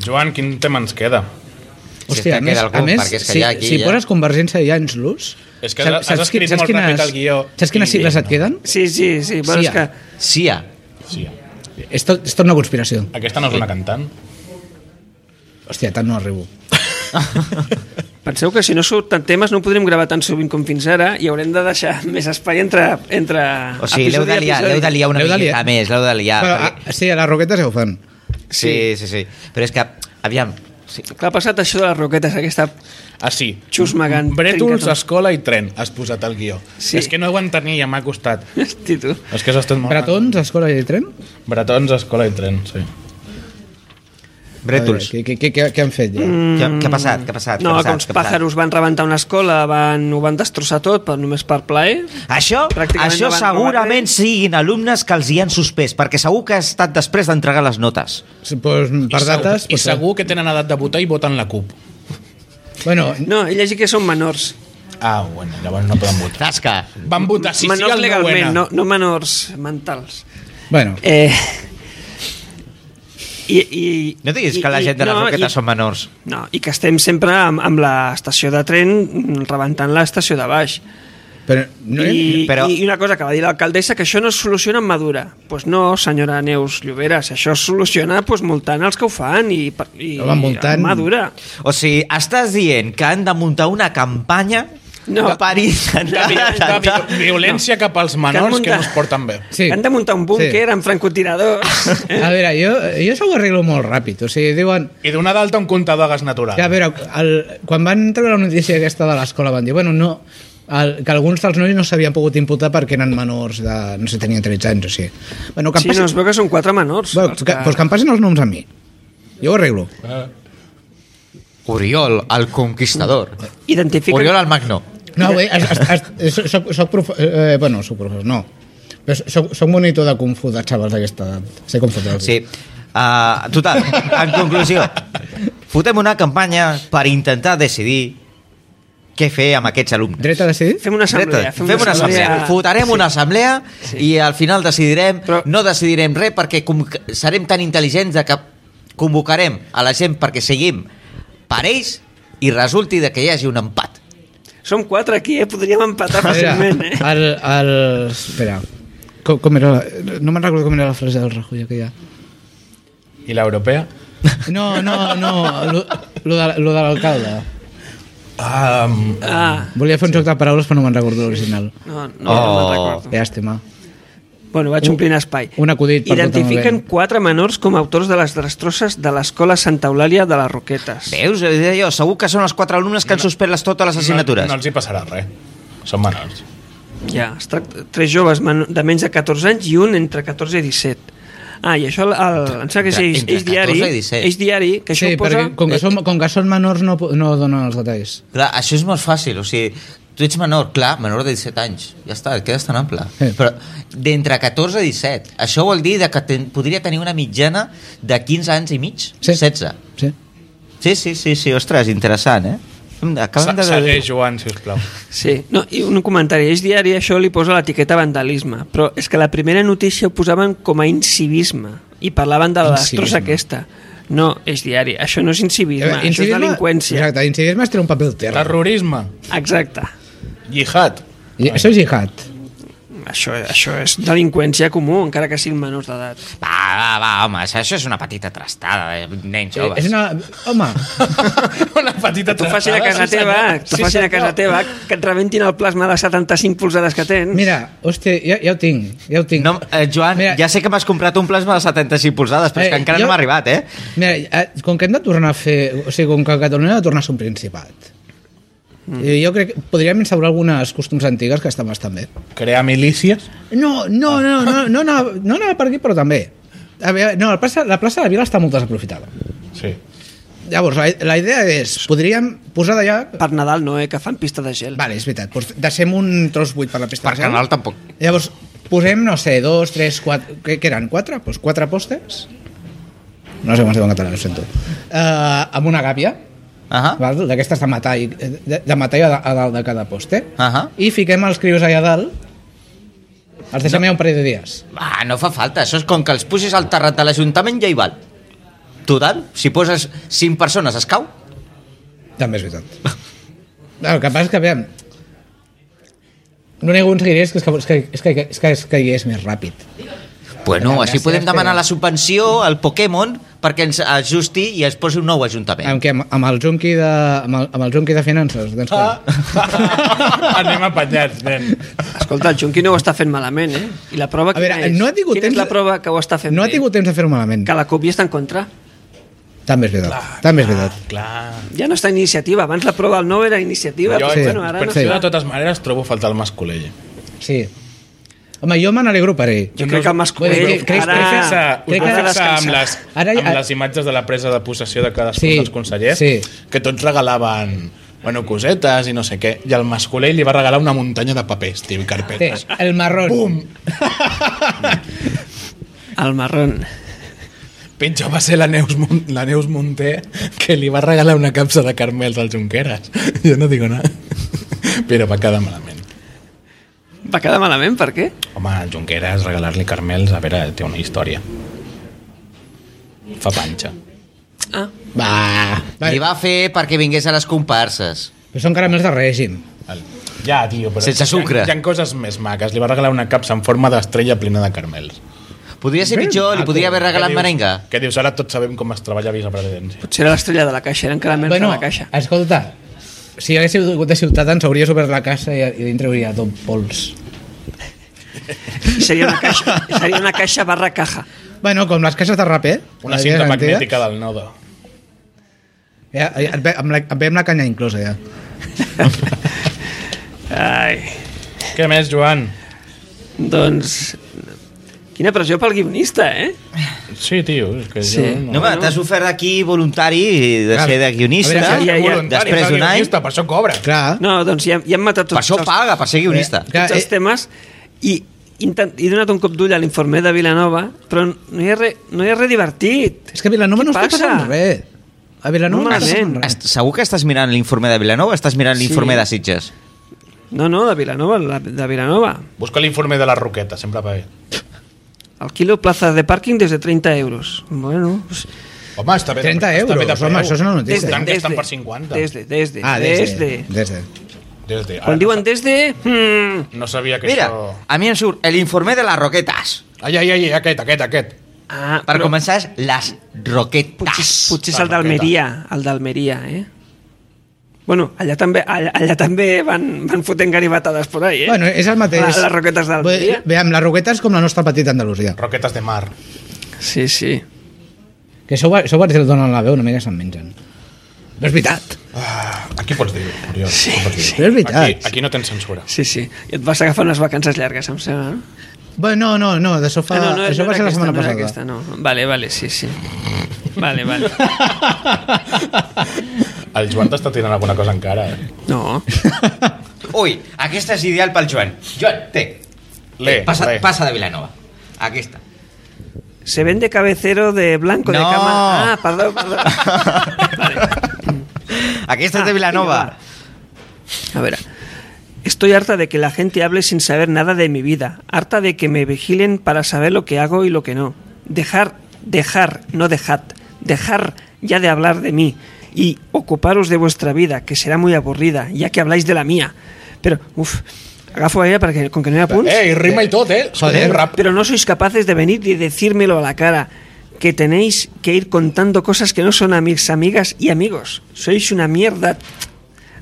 [SPEAKER 1] Joan, quin tema ens queda?
[SPEAKER 4] Si és que
[SPEAKER 3] Hòstia, a més,
[SPEAKER 4] queda algú,
[SPEAKER 3] a més
[SPEAKER 4] perquè és que
[SPEAKER 3] si,
[SPEAKER 4] ja aquí
[SPEAKER 3] si
[SPEAKER 4] ja-
[SPEAKER 3] poses Convergència i Anschluss...
[SPEAKER 1] És que has- has
[SPEAKER 3] qui-
[SPEAKER 1] escrit molt ràpid el guió
[SPEAKER 3] Saps quines
[SPEAKER 1] i-
[SPEAKER 3] sigles et
[SPEAKER 1] no.
[SPEAKER 3] queden?
[SPEAKER 2] Sí, sí, sí. Bueno,
[SPEAKER 3] Sí,
[SPEAKER 2] és
[SPEAKER 4] ah.
[SPEAKER 2] que...
[SPEAKER 4] Sia.
[SPEAKER 1] Sí.
[SPEAKER 3] És tot, és tot una conspiració.
[SPEAKER 1] Aquesta no és una cantant.
[SPEAKER 3] Hòstia, tant no arribo.
[SPEAKER 2] Penseu que si no surten temes no podrem gravar tan sovint com fins ara i haurem de deixar més espai entre, entre
[SPEAKER 4] O sigui, l'heu de,
[SPEAKER 2] episodi i
[SPEAKER 4] liar, l'heu de liar una
[SPEAKER 3] L'heu de
[SPEAKER 4] miqueta
[SPEAKER 3] liar.
[SPEAKER 4] més, l'heu de liar.
[SPEAKER 3] Però,
[SPEAKER 4] perquè-
[SPEAKER 3] ah, sí, a les roquetes ja ho fan.
[SPEAKER 4] Sí, sí, sí. Però és que, aviam... Sí.
[SPEAKER 2] Clar, ha passat això de les roquetes, aquesta...
[SPEAKER 1] Ah, sí.
[SPEAKER 2] Xusmegant.
[SPEAKER 1] Brètols,
[SPEAKER 2] Trenca tot.
[SPEAKER 1] escola i tren. Has posat el guió.
[SPEAKER 2] Sí.
[SPEAKER 1] Sí. És que no ho entenia, m'ha costat.
[SPEAKER 2] Hosti, tu.
[SPEAKER 1] És que has estat molt...
[SPEAKER 3] Bretons, escola i tren?
[SPEAKER 1] Bretons, escola i tren, sí.
[SPEAKER 4] Brètols.
[SPEAKER 3] Què, què, què, què han fet ja?
[SPEAKER 4] Què, què ha passat? Què ha passat?
[SPEAKER 2] No,
[SPEAKER 4] què ha
[SPEAKER 2] que
[SPEAKER 4] passat?
[SPEAKER 2] uns
[SPEAKER 4] Què ha passat?
[SPEAKER 2] pàjaros van rebentar una escola, van, ho van destrossar tot, per, només per plaer.
[SPEAKER 4] Això,
[SPEAKER 2] Pràcticament
[SPEAKER 4] això
[SPEAKER 2] no van
[SPEAKER 4] segurament
[SPEAKER 2] robar res.
[SPEAKER 4] siguin alumnes que els hi han suspès, perquè segur que ha estat després d'entregar les notes.
[SPEAKER 3] Sí, Pues, per dates...
[SPEAKER 1] I
[SPEAKER 3] pues, eh,
[SPEAKER 1] segur que tenen edat de votar i voten la CUP.
[SPEAKER 3] Bueno,
[SPEAKER 2] No, he llegit que són menors.
[SPEAKER 1] Ah, bueno, llavors no poden votar.
[SPEAKER 4] Tasca.
[SPEAKER 1] Van votar sí, sí
[SPEAKER 2] menors
[SPEAKER 1] al
[SPEAKER 2] legalment,
[SPEAKER 1] 9
[SPEAKER 2] no, no menors mentals.
[SPEAKER 3] bueno
[SPEAKER 2] Eh, i, i,
[SPEAKER 4] No diguis
[SPEAKER 2] i-
[SPEAKER 4] que la
[SPEAKER 2] i-
[SPEAKER 4] gent de les
[SPEAKER 2] no,
[SPEAKER 4] roquetes
[SPEAKER 2] i-
[SPEAKER 4] són menors.
[SPEAKER 2] No, i que estem sempre amb, amb l'estació de tren mm, rebentant l'estació de baix.
[SPEAKER 3] però no
[SPEAKER 2] I,
[SPEAKER 4] però-
[SPEAKER 2] I una cosa que va dir l'alcaldessa, que això no es soluciona amb Madura. Doncs pues no, senyora Neus Lloberes, això es soluciona pues, multant els que ho fan i, per- i
[SPEAKER 3] Home, multant-
[SPEAKER 2] amb Madura.
[SPEAKER 4] O sigui, estàs dient que han de muntar una campanya
[SPEAKER 2] No.
[SPEAKER 4] per intentar...
[SPEAKER 1] De violència cap als menors que no
[SPEAKER 2] muntar-
[SPEAKER 1] es porten bé.
[SPEAKER 3] Sí.
[SPEAKER 2] Han de muntar un búnquer
[SPEAKER 3] Sí.
[SPEAKER 2] amb francotiradors. Eh?
[SPEAKER 3] A veure, jo, jo això ho arreglo molt ràpid. O sigui, diuen...
[SPEAKER 1] I donar d'alta un comptador a gas natural.
[SPEAKER 3] Ja, a veure, el, quan van treure la notícia aquesta de l'escola van dir, bueno, no, el, que alguns dels nois no s'havien pogut imputar perquè eren menors de... no sé, tenien 13 anys o així. Bueno, que em
[SPEAKER 2] Sí, no,
[SPEAKER 3] passin,
[SPEAKER 2] es veu que són quatre menors.
[SPEAKER 3] bueno,
[SPEAKER 2] els
[SPEAKER 3] que, doncs que em passin els noms a mi. Jo ho arreglo.
[SPEAKER 4] Oriol, el conquistador.
[SPEAKER 2] Identifiquen...
[SPEAKER 4] Oriol el magno.
[SPEAKER 3] No, bé, es, es, es, soc, soc, soc profe... eh, bueno, soc professor, no. Però soc, soc monitor de Kung Fu de xavals d'aquesta edat. Sé com fotre.
[SPEAKER 4] Sí. Uh, total, en conclusió, fotem una campanya per intentar decidir què fer amb aquests alumnes.
[SPEAKER 3] Dret a decidir?
[SPEAKER 2] Fem una assemblea.
[SPEAKER 4] Dret a- Fem, una assemblea. Fotarem una assemblea sí. i al final decidirem,
[SPEAKER 2] Però-
[SPEAKER 4] Però... no decidirem res perquè com... serem tan intel·ligents de que convocarem a la gent perquè seguim parells i resulti de que hi hagi un empat.
[SPEAKER 2] Som quatre aquí, eh? Podríem empatar fàcilment, eh?
[SPEAKER 3] el, el... Espera. Com, com era la... No me'n recordo com era la frase del Rajoy aquella.
[SPEAKER 1] I l'europea?
[SPEAKER 3] No, no, no. Lo, lo de, lo de l'alcalde.
[SPEAKER 1] Um,
[SPEAKER 2] Ah,
[SPEAKER 3] Volia fer un joc de paraules però no me'n recordo l'original.
[SPEAKER 2] no, no, oh. no
[SPEAKER 4] Oh.
[SPEAKER 2] me'n recordo.
[SPEAKER 3] Llàstima.
[SPEAKER 2] Bueno, vaig omplint espai.
[SPEAKER 3] un acudit per tota
[SPEAKER 2] Identifiquen
[SPEAKER 3] tothom, bé.
[SPEAKER 2] quatre menors com a autors de les destrosses de l'escola Santa Eulàlia de les Roquetes.
[SPEAKER 4] Veus? Ho deia Jo, segur que són els quatre alumnes que han suspès les totes les assignatures.
[SPEAKER 1] No, no els hi passarà res. Són menors.
[SPEAKER 2] Ja, es tracta tres joves men- de menys de 14 anys i un entre 14 i 17. Ah, i això el, el, em sembla que és
[SPEAKER 4] Entre-
[SPEAKER 2] Eix,
[SPEAKER 4] entre
[SPEAKER 2] Eix Diari,
[SPEAKER 4] 14 i 17.
[SPEAKER 2] Eix Diari, que això
[SPEAKER 3] Sí,
[SPEAKER 2] ho posa...
[SPEAKER 3] perquè com que, som, com que són menors no, po- no donen els detalls.
[SPEAKER 4] Clar, això és molt fàcil, o sigui, tu ets menor, clar, menor de 17 anys, ja està, et quedes tan ample.
[SPEAKER 3] Sí.
[SPEAKER 4] Però d'entre 14 i 17, això vol dir de que ten, podria tenir una mitjana de 15 anys i mig,
[SPEAKER 3] Sí.
[SPEAKER 4] 16.
[SPEAKER 3] Sí.
[SPEAKER 4] Sí, sí, sí, sí, ostres, interessant, eh? Hem de- Acabem
[SPEAKER 1] Se
[SPEAKER 4] de...
[SPEAKER 1] segueix, Joan, sisplau.
[SPEAKER 2] Sí, no, i un comentari. És diari, això li posa l'etiqueta vandalisme, però és que la primera notícia ho posaven com a incivisme i parlaven de la
[SPEAKER 3] Incivisme.
[SPEAKER 2] destrossa aquesta. No, és diari, això no és incivisme, eh, això és delinqüència.
[SPEAKER 3] Exacte, incivisme és treure un paper al terra.
[SPEAKER 1] Terrorisme.
[SPEAKER 2] Exacte.
[SPEAKER 1] Jihad.
[SPEAKER 3] I, això és jihad.
[SPEAKER 2] Això, això és delinqüència comú, encara que siguin menors d'edat.
[SPEAKER 4] Va, va, va, home, això, això és una petita trastada de nens joves.
[SPEAKER 3] Eh, És una... Home,
[SPEAKER 1] Una petita
[SPEAKER 3] Ah,
[SPEAKER 2] T'ho facin a casa teva, eh? t'ho facin a casa teva, que et rebentin el plasma de 75 polzades que tens.
[SPEAKER 3] mira, hòstia, ja, ja ho tinc, ja ho tinc.
[SPEAKER 4] No, eh, Joan,
[SPEAKER 3] Mira-
[SPEAKER 4] Mira, ja sé que m'has comprat un plasma de 75 polzades, però és que
[SPEAKER 3] Eh,
[SPEAKER 4] encara
[SPEAKER 3] jo-
[SPEAKER 4] no m'ha arribat, eh?
[SPEAKER 3] Mira, eh, com que hem de tornar a fer... O sigui, com que Catalunya ha de tornar a ser un principat, mm. jo crec que podríem instaurar algunes costums antigues que estan bastant bé.
[SPEAKER 1] Crear milícies.
[SPEAKER 3] No, no, no, no, no, no, no anava per aquí, però també. A veure, no, la plaça, la plaça de la Vila està molt desaprofitada.
[SPEAKER 1] Sí.
[SPEAKER 3] Llavors, la, la idea és, podríem posar d'allà...
[SPEAKER 2] Per Nadal no, eh, que fan pista de gel.
[SPEAKER 3] Vale, és veritat, doncs deixem un tros buit per la pista.
[SPEAKER 4] Per
[SPEAKER 3] de gel.
[SPEAKER 4] Canal tampoc.
[SPEAKER 3] Llavors, posem, no sé, dos, tres, quatre... Què, què eren, quatre? Doncs quatre pòsters. No sé com es diu en català, ho sento. Uh, amb una gàbia,
[SPEAKER 4] Ahà, uh -huh.
[SPEAKER 3] val? d'aquestes de metall, de, de metall a, da- a dalt de cada pòster.
[SPEAKER 4] Ahà.
[SPEAKER 3] I fiquem els crios allà dalt, els deixem allà un parell de dies.
[SPEAKER 4] Va, no fa falta, això és com que els pusis al terrat de l'Ajuntament ja hi val. Total, si poses 5 persones es cau.
[SPEAKER 3] També és veritat. Clar, El que passa és que, aviam, no n'hi ha un seguiré, és que, és que, és que, és que, és que, és que hi és més ràpid.
[SPEAKER 4] Bueno,
[SPEAKER 3] Gràcies,
[SPEAKER 4] així podem demanar
[SPEAKER 3] Pere.
[SPEAKER 4] la subvenció al Pokémon perquè ens ajusti i ens posi un nou Ajuntament.
[SPEAKER 3] Amb, què, amb, amb el junqui de, amb el, amb el junqui de finances. Doncs,
[SPEAKER 1] Ah.
[SPEAKER 3] clar.
[SPEAKER 1] Anem apanyats, nen.
[SPEAKER 2] Escolta, el Junqui no ho està fent malament, eh? I la prova
[SPEAKER 3] A veure,
[SPEAKER 2] quina és?
[SPEAKER 3] no ha tingut
[SPEAKER 2] quina
[SPEAKER 3] temps
[SPEAKER 2] és la
[SPEAKER 3] de-
[SPEAKER 2] prova que ho està fent
[SPEAKER 3] no ha
[SPEAKER 2] bé?
[SPEAKER 3] tingut temps de fer-ho malament.
[SPEAKER 2] Que la CUP hi està en contra.
[SPEAKER 3] També és veritat. també és veritat.
[SPEAKER 1] Clar.
[SPEAKER 2] Ja no està iniciativa. Abans la prova del no era iniciativa.
[SPEAKER 1] Jo,
[SPEAKER 2] però
[SPEAKER 3] sí,
[SPEAKER 2] bueno, ara
[SPEAKER 1] per
[SPEAKER 2] no.
[SPEAKER 3] sí.
[SPEAKER 1] això, de totes maneres, trobo a faltar el Mascolell.
[SPEAKER 3] Sí. Home, jo me n'alegro per ell.
[SPEAKER 2] Jo crec que el Mascolell
[SPEAKER 3] Vull dir, crec-
[SPEAKER 2] ara...
[SPEAKER 3] crec
[SPEAKER 1] Fixa,
[SPEAKER 3] crec
[SPEAKER 1] crec
[SPEAKER 3] que-
[SPEAKER 1] que
[SPEAKER 2] ara
[SPEAKER 1] fixa amb,
[SPEAKER 2] descansa.
[SPEAKER 1] les,
[SPEAKER 3] Ara-
[SPEAKER 1] amb
[SPEAKER 3] ara-
[SPEAKER 1] les imatges de la presa de possessió de cadascun
[SPEAKER 3] Sí,
[SPEAKER 1] sí, dels consellers,
[SPEAKER 3] sí.
[SPEAKER 1] que tots regalaven bueno, cosetes i no sé què, i el Mascolell li va regalar una muntanya de papers, tio, i
[SPEAKER 3] Té,
[SPEAKER 1] carpetes.
[SPEAKER 3] el marrón.
[SPEAKER 1] Bum!
[SPEAKER 2] El marrón.
[SPEAKER 1] Pitjor va ser la Neus, Mun- la Neus Munté que li va regalar una capsa de carmels al Junqueras. Jo no digo nada. Però va quedar malament.
[SPEAKER 2] Va quedar malament, per què?
[SPEAKER 1] Home, al Junqueras regalar-li carmels, a veure, té una història. Fa panxa.
[SPEAKER 2] Ah,
[SPEAKER 3] Va. va.
[SPEAKER 4] Li va fer perquè vingués a les comparses.
[SPEAKER 3] Però són caramels de règim.
[SPEAKER 1] El- Ja, tio, però...
[SPEAKER 4] Sense sucre.
[SPEAKER 1] Hi ha, hi ha coses més maques. Li va regalar una capsa en forma d'estrella plena de carmels.
[SPEAKER 4] Podria ser pitjor, li podria haver regalat
[SPEAKER 1] Què dius-
[SPEAKER 4] merenga.
[SPEAKER 1] Què dius? Ara tots sabem com es treballa a vicepresidència.
[SPEAKER 2] potser era l'estrella de la caixa, eren caramels
[SPEAKER 3] bueno,
[SPEAKER 2] de la caixa.
[SPEAKER 3] escolta, si haguéssiu sigut de Ciutadans hauries obert la caixa i, i dintre hauria tot pols.
[SPEAKER 2] Seria una caixa, seria una caixa barra caja.
[SPEAKER 3] Bueno, com les caixes de raper.
[SPEAKER 1] Una
[SPEAKER 3] les
[SPEAKER 1] cinta
[SPEAKER 3] antigues.
[SPEAKER 1] magnètica del nodo.
[SPEAKER 3] Ja, ja, et ve, amb la, et ve amb la canya inclosa, ja.
[SPEAKER 2] Ai,
[SPEAKER 1] Què més, Joan?
[SPEAKER 2] doncs... Quina pressió pel guionista, eh?
[SPEAKER 1] Sí, tio, és que
[SPEAKER 2] Sí.
[SPEAKER 1] jo...
[SPEAKER 4] No, home, t'has ofert aquí voluntari de ser de guionista.
[SPEAKER 3] A veure,
[SPEAKER 2] ja, ja.
[SPEAKER 4] Després d'un any...
[SPEAKER 1] Per això cobra.
[SPEAKER 3] Clar.
[SPEAKER 2] No, doncs ja, ja hem matat
[SPEAKER 4] Per
[SPEAKER 2] tots,
[SPEAKER 4] això
[SPEAKER 2] els-
[SPEAKER 4] paga, per ser guionista.
[SPEAKER 3] Eh,
[SPEAKER 2] tots els
[SPEAKER 3] eh,
[SPEAKER 2] temes i intent, he donat un cop d'ull a l'informe de Vilanova, però no hi ha res, no hi ha res divertit.
[SPEAKER 3] És que a Vilanova
[SPEAKER 2] Què
[SPEAKER 3] no està
[SPEAKER 2] passa?
[SPEAKER 3] passant res. A Vilanova
[SPEAKER 2] No
[SPEAKER 3] no passa
[SPEAKER 2] malament.
[SPEAKER 3] res.
[SPEAKER 4] Est- Segur que estàs mirant l'informe de Vilanova o estàs mirant
[SPEAKER 2] Sí.
[SPEAKER 4] l'informe de Sitges?
[SPEAKER 2] No, no, de Vilanova, la- de Vilanova.
[SPEAKER 1] Busca l'informe de la Roqueta, sempre va bé.
[SPEAKER 2] Alquilo plazas de parking desde 30 euros. Bueno, pues,
[SPEAKER 1] Home, està bé. de-
[SPEAKER 3] 30
[SPEAKER 1] està bé de
[SPEAKER 3] euros, home,
[SPEAKER 1] preu.
[SPEAKER 3] això és una notícia.
[SPEAKER 1] I
[SPEAKER 2] desde,
[SPEAKER 1] tant que estan
[SPEAKER 2] desde,
[SPEAKER 1] per 50.
[SPEAKER 2] desde, desde,
[SPEAKER 3] Ah, des de...
[SPEAKER 2] desde.
[SPEAKER 3] Des de.
[SPEAKER 1] Des de-
[SPEAKER 2] Quan
[SPEAKER 1] ara,
[SPEAKER 2] diuen desde... Mm,
[SPEAKER 1] No sabia que
[SPEAKER 4] Mira,
[SPEAKER 1] això...
[SPEAKER 4] a mi em surt l'informe de les roquetes.
[SPEAKER 1] Ai, ai, ai, aquest, aquest, aquest.
[SPEAKER 2] ah,
[SPEAKER 4] Per
[SPEAKER 2] però
[SPEAKER 4] començar, és les
[SPEAKER 2] Potser,
[SPEAKER 4] roquetes.
[SPEAKER 2] potser és
[SPEAKER 1] La
[SPEAKER 2] el d'Almeria, el d'Almeria, eh? Bueno, allà també, allà, allà també van, van fotent garibatades por ahí, eh?
[SPEAKER 3] Bueno, és el mateix.
[SPEAKER 2] La- les roquetes d'Almeria.
[SPEAKER 3] Bé, amb les roquetes com la nostra petita Andalusia.
[SPEAKER 1] Roquetes de mar.
[SPEAKER 2] Sí, sí.
[SPEAKER 3] Que això, ho va- això ho vaig dir donar la veu, una mica se'n mengen. No és veritat.
[SPEAKER 1] Ah, aquí pots dir-ho, Oriol. Sí, sí.
[SPEAKER 3] Però és veritat.
[SPEAKER 1] Aquí, aquí no tens censura.
[SPEAKER 2] Sí, sí. I et vas agafar unes vacances llargues, em sembla, no?
[SPEAKER 3] Bueno, no, no, no, d'això fa... no, no, Ah, això va
[SPEAKER 2] era
[SPEAKER 3] ser
[SPEAKER 2] aquesta,
[SPEAKER 3] la setmana
[SPEAKER 2] Ah, no era
[SPEAKER 3] passada.
[SPEAKER 2] Aquesta, no. Vale, vale, sí, sí. Vale, vale.
[SPEAKER 1] El Joan t'està tirant alguna cosa encara. eh?
[SPEAKER 2] No.
[SPEAKER 4] Ui, aquesta és ideal pel Joan. Joan, té.
[SPEAKER 1] Le,
[SPEAKER 4] Passa,
[SPEAKER 1] le.
[SPEAKER 4] passa de Vilanova. Aquesta.
[SPEAKER 2] Se vende cabecero de blanco de
[SPEAKER 4] No.
[SPEAKER 2] cama. Ah, perdó, perdó.
[SPEAKER 4] Aquesta és de
[SPEAKER 2] Ah,
[SPEAKER 4] Vilanova.
[SPEAKER 2] vinga, A ver, estoy harta de que la gente hable sin saber nada de mi vida, harta de que me vigilen para saber lo que hago y lo que no. Dejar, dejar, no dejad, dejar ya de hablar de mí y ocuparos de vuestra vida, que será muy aburrida, ya que habláis de la mía. Pero, uff, agafo a ella para que, con que no me apunte.
[SPEAKER 1] Ei, rima i tot, eh?
[SPEAKER 3] Joder.
[SPEAKER 1] Joder, rap.
[SPEAKER 2] Pero no sois capaces de venir y decírmelo a la cara. Que tenéis que ir contando cosas que no son a mis amigas y amigos. Sois una mierda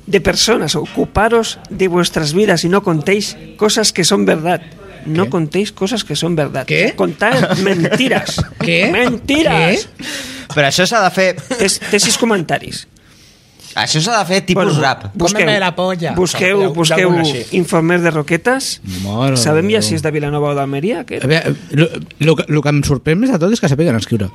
[SPEAKER 2] de personas. Ocuparos de vuestras vidas y no contéis cosas que son verdad. No contéis cosas que son verdad.
[SPEAKER 3] ¿Qué?
[SPEAKER 2] Contar mentiras.
[SPEAKER 3] ¿Qué?
[SPEAKER 2] Mentiras.
[SPEAKER 4] Però això s'ha de fer...
[SPEAKER 2] Tes- tesis comentaris.
[SPEAKER 4] Això s'ha de fer tipus
[SPEAKER 2] Bueno,
[SPEAKER 4] rap.
[SPEAKER 2] Busqueu,
[SPEAKER 8] la polla.
[SPEAKER 2] busqueu,
[SPEAKER 1] Ja ho- ja ho
[SPEAKER 2] busqueu
[SPEAKER 1] veuràs així.
[SPEAKER 2] informes de roquetes.
[SPEAKER 3] Mare
[SPEAKER 2] Sabem
[SPEAKER 3] de
[SPEAKER 2] ja
[SPEAKER 3] Déu.
[SPEAKER 2] si és de Vilanova o d'Almeria? aquest?
[SPEAKER 3] A veure, el que, lo que em sorprèn més de tot és que sàpiguen escriure.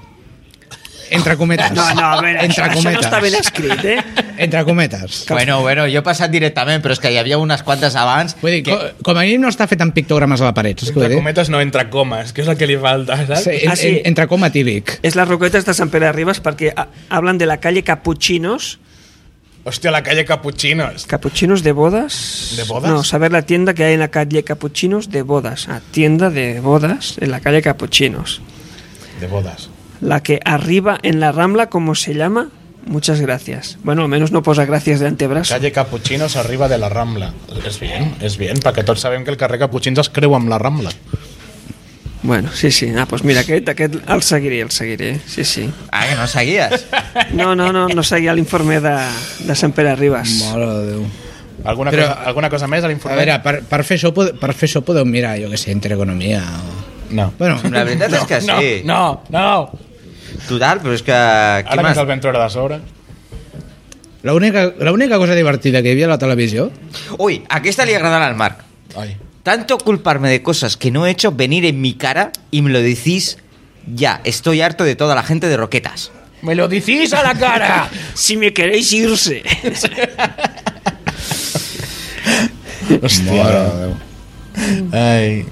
[SPEAKER 3] Entre cometes.
[SPEAKER 2] No, no, a veure,
[SPEAKER 3] Entre
[SPEAKER 2] això, això no
[SPEAKER 3] cometes.
[SPEAKER 2] està ben escrit, eh?
[SPEAKER 3] Entre cometes.
[SPEAKER 4] Bueno, bueno, jo he passat directament, però és que hi havia unes quantes abans.
[SPEAKER 3] Vull dir,
[SPEAKER 4] que...
[SPEAKER 3] co- com a mínim no està fet amb pictogrames a la paret. saps què
[SPEAKER 1] Entre
[SPEAKER 3] vull dir?
[SPEAKER 1] cometes no, entre comes, que és el que li falta, saps?
[SPEAKER 3] Sí, en,
[SPEAKER 2] Ah, sí.
[SPEAKER 3] en, entre coma tílic.
[SPEAKER 2] Es las roquetas de San Pere de Ribas porque ha- hablan de la calle Capuchinos.
[SPEAKER 1] Hòstia, la calle Capuchinos.
[SPEAKER 2] ¿Capuchinos de bodas?
[SPEAKER 1] ¿De bodas?
[SPEAKER 2] No, saber la tienda que hay en la calle Capuchinos de bodas. Ah, tienda de bodas en la calle Capuchinos.
[SPEAKER 1] De bodas.
[SPEAKER 2] La que arriba en la Rambla, ¿cómo se llama? Muchas gracias. Bueno, al menos no posa gracias de antebrazo.
[SPEAKER 1] Calle Capuchinos arriba de la Rambla. És bien, és bien, perquè tots sabem que el carrer Capuchins es creu amb la Rambla.
[SPEAKER 2] Bueno, sí, sí. Ah, pues mira, aquest, aquest el seguiré, el seguiré. Sí, sí.
[SPEAKER 4] Ah, que no seguies?
[SPEAKER 2] No, no, no, no seguia l'informe de, de Sant Pere de Ribas.
[SPEAKER 3] Mare de Déu.
[SPEAKER 1] Alguna,
[SPEAKER 3] Però-
[SPEAKER 1] cosa, alguna cosa més a
[SPEAKER 3] A
[SPEAKER 1] l'informe?
[SPEAKER 3] veure, per, per, fer això, pode- per fer això podeu mirar, jo que sé, entre economia o...
[SPEAKER 1] No.
[SPEAKER 3] Bueno,
[SPEAKER 4] La veritat és que sí.
[SPEAKER 1] No, no, no.
[SPEAKER 4] Total, però és que...
[SPEAKER 1] Ara
[SPEAKER 4] Qui
[SPEAKER 1] que
[SPEAKER 4] més?
[SPEAKER 1] ens el vam treure de sobre.
[SPEAKER 3] l'única l'única cosa divertida que hi havia a la televisió
[SPEAKER 4] Ui, aquesta li agradarà al Marc.
[SPEAKER 1] Ai.
[SPEAKER 4] Tanto culparme de cosas que no he hecho, venir en mi cara y me lo decís ya. Estoy harto de toda la gente de roquetas.
[SPEAKER 1] Me lo decís a la cara!
[SPEAKER 2] Si me queréis irse.
[SPEAKER 1] Hòstia. Ai.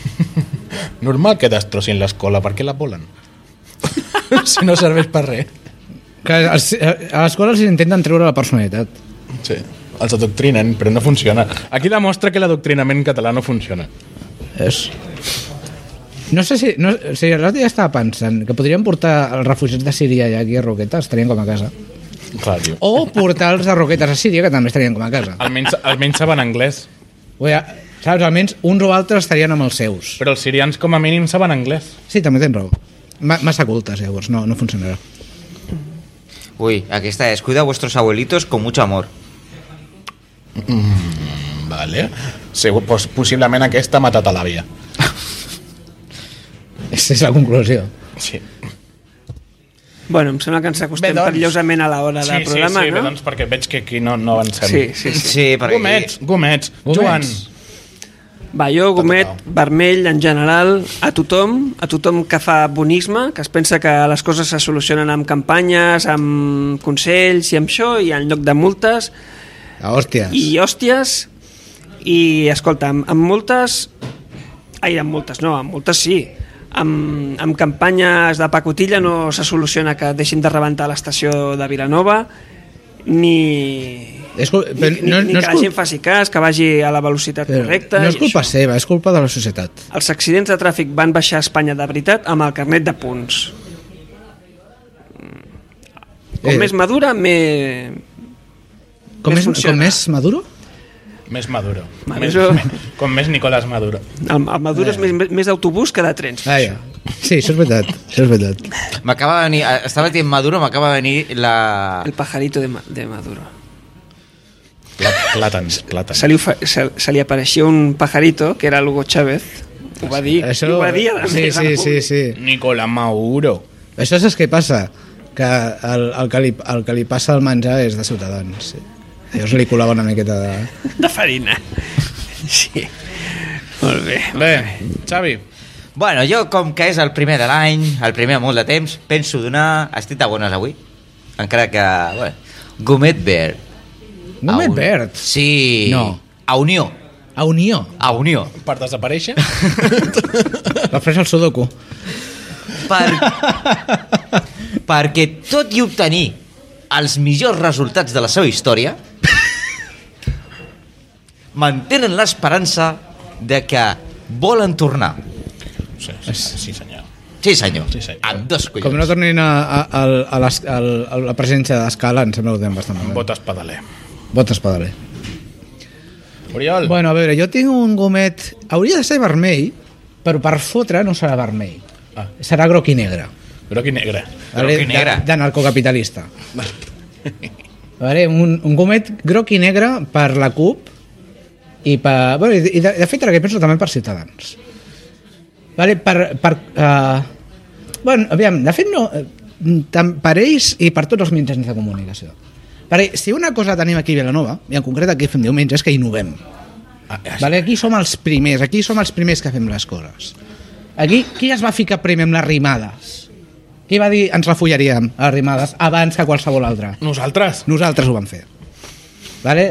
[SPEAKER 1] Normal que destrossin l'escola, per què la volen? si no serveix per res.
[SPEAKER 3] que als- a l'escola els intenten treure la personalitat
[SPEAKER 1] Sí, els adoctrinen, però no funciona. Aquí demostra que l'adoctrinament català no funciona.
[SPEAKER 3] és no sé si... No, o sigui, l'altre dia estava pensant que podríem portar els refugiats de Síria i aquí a Roquetes, estarien com a casa.
[SPEAKER 1] Clar, tio.
[SPEAKER 3] O portar els de Roquetes a Síria, que també estarien com a casa.
[SPEAKER 1] Almenys, almenys saben anglès.
[SPEAKER 3] O sigui, saps, almenys uns o altres estarien amb els seus.
[SPEAKER 1] Però els sirians com a mínim saben anglès.
[SPEAKER 3] Sí, també tens raó. Ma massa cultes, llavors, no, no funcionarà.
[SPEAKER 4] Uy, aquí está. Es cuida a vuestros abuelitos con mucho amor.
[SPEAKER 1] Vale. Segur, pues, possiblement aquesta ha matat a l'àvia.
[SPEAKER 3] Aquesta és la conclusió.
[SPEAKER 1] Sí.
[SPEAKER 2] Bueno, em sembla que ens acostem
[SPEAKER 1] Bé, doncs.
[SPEAKER 2] perillosament a l'hora
[SPEAKER 1] sí,
[SPEAKER 2] del programa,
[SPEAKER 1] sí, sí,
[SPEAKER 2] no?
[SPEAKER 1] bé, doncs perquè veig que aquí no, no avancem.
[SPEAKER 2] Sí, sí, sí.
[SPEAKER 4] Sí, perquè...
[SPEAKER 1] Gomets, gomets, Joan.
[SPEAKER 3] Gomets.
[SPEAKER 2] Balló, gomet, vermell, en general, a tothom, a tothom que fa bonisme, que es pensa que les coses se solucionen amb campanyes, amb consells i amb això, i en lloc de multes,
[SPEAKER 3] Ah, hòsties.
[SPEAKER 2] i hòsties, i escolta, amb, amb multes... Ai, amb multes no, amb multes sí, amb, amb campanyes de pacotilla no se soluciona que deixin de rebentar l'estació de Vilanova ni,
[SPEAKER 3] És cul-
[SPEAKER 2] ni,
[SPEAKER 3] però
[SPEAKER 2] ni,
[SPEAKER 3] no-
[SPEAKER 2] ni
[SPEAKER 3] no és
[SPEAKER 2] que la
[SPEAKER 3] cul-
[SPEAKER 2] gent faci cas, que vagi a la velocitat correcta
[SPEAKER 3] no és
[SPEAKER 2] i
[SPEAKER 3] culpa
[SPEAKER 2] això.
[SPEAKER 3] seva, és culpa de la societat.
[SPEAKER 2] Els accidents de tràfic van baixar a Espanya de veritat amb el carnet de punts. Com
[SPEAKER 3] Eh.
[SPEAKER 2] més madura, més...
[SPEAKER 3] Com
[SPEAKER 2] Més
[SPEAKER 3] més,
[SPEAKER 2] funciona.
[SPEAKER 3] com més maduro?
[SPEAKER 1] Més Maduro.
[SPEAKER 2] Maduro.
[SPEAKER 1] Més, més, com més Nicolás Maduro.
[SPEAKER 2] El, el madura és més, més d'autobús que de trens.
[SPEAKER 3] Eh. Ah, ja. Sí, això és veritat. Això és veritat.
[SPEAKER 4] M'acaba de venir... eh, Estava dient Maduro, m'acaba de venir la...
[SPEAKER 2] El pajarito de, Ma- de Maduro.
[SPEAKER 1] Pla- Plàtans, plàtans.
[SPEAKER 2] Se li, ofe- se, se li apareixia un pajarito, que era Hugo Chávez. Ho va dir, i ho va dir a la
[SPEAKER 3] sí,
[SPEAKER 2] mesa
[SPEAKER 3] sí, sí,
[SPEAKER 2] pública.
[SPEAKER 3] sí.
[SPEAKER 1] Nicolás Maduro.
[SPEAKER 3] Això saps què passa? Que el, el, que li, el que li passa al menjar és de Ciutadans. Sí. Llavors li colava una miqueta de...
[SPEAKER 2] De farina. Sí. Molt bé.
[SPEAKER 1] Bé, Xavi,
[SPEAKER 4] Bueno, jo com que és el primer de l'any, el primer de molt de temps, penso donar... Estic de bones avui, encara que... Bueno, gourmet verd.
[SPEAKER 3] No
[SPEAKER 4] A
[SPEAKER 3] m'he
[SPEAKER 4] un-
[SPEAKER 3] perd.
[SPEAKER 4] Sí.
[SPEAKER 3] No.
[SPEAKER 4] A Unió.
[SPEAKER 3] A Unió.
[SPEAKER 4] A Unió.
[SPEAKER 1] per desaparèixer,
[SPEAKER 3] La fresa al sudoku.
[SPEAKER 4] Per... Perquè tot i obtenir els millors resultats de la seva història, mantenen l'esperança de que volen tornar.
[SPEAKER 1] Sí, sí, sí senyor.
[SPEAKER 4] Sí, senyor.
[SPEAKER 1] Sí, senyor.
[SPEAKER 4] Amb dos collons.
[SPEAKER 3] Com no tornin a, a, a, a, les, a, a la presència d'Escala, em sembla que ho tenen bastant malament.
[SPEAKER 1] Botes pedaler.
[SPEAKER 3] Botes pedaler.
[SPEAKER 1] Oriol, bueno.
[SPEAKER 3] Bueno, a veure, jo tinc un gomet... Hauria de ser vermell, però per fotre no serà vermell.
[SPEAKER 1] Ah.
[SPEAKER 3] Serà groc i negre.
[SPEAKER 1] groc i negre.
[SPEAKER 4] Groc i
[SPEAKER 3] De-
[SPEAKER 4] negre.
[SPEAKER 3] De, narcocapitalista. Vale, un, un gomet groc i negre per la CUP i, per, bueno, i, de, de fet ara que penso també per Ciutadans. Vale, per, per, uh, bueno, aviam, de fet no, eh, tant per ells i per tots els mitjans de comunicació. Perquè si una cosa tenim aquí a Vilanova, i en concret aquí fem diumenge, és que innovem.
[SPEAKER 1] Ah, ah,
[SPEAKER 3] Vale, aquí som els primers, aquí som els primers que fem les coses. Aquí, qui es va ficar primer amb les rimades? Qui va dir ens la follaríem, a les rimades, abans que qualsevol altre?
[SPEAKER 1] Nosaltres
[SPEAKER 3] Nosaltres ho vam fer. Vale?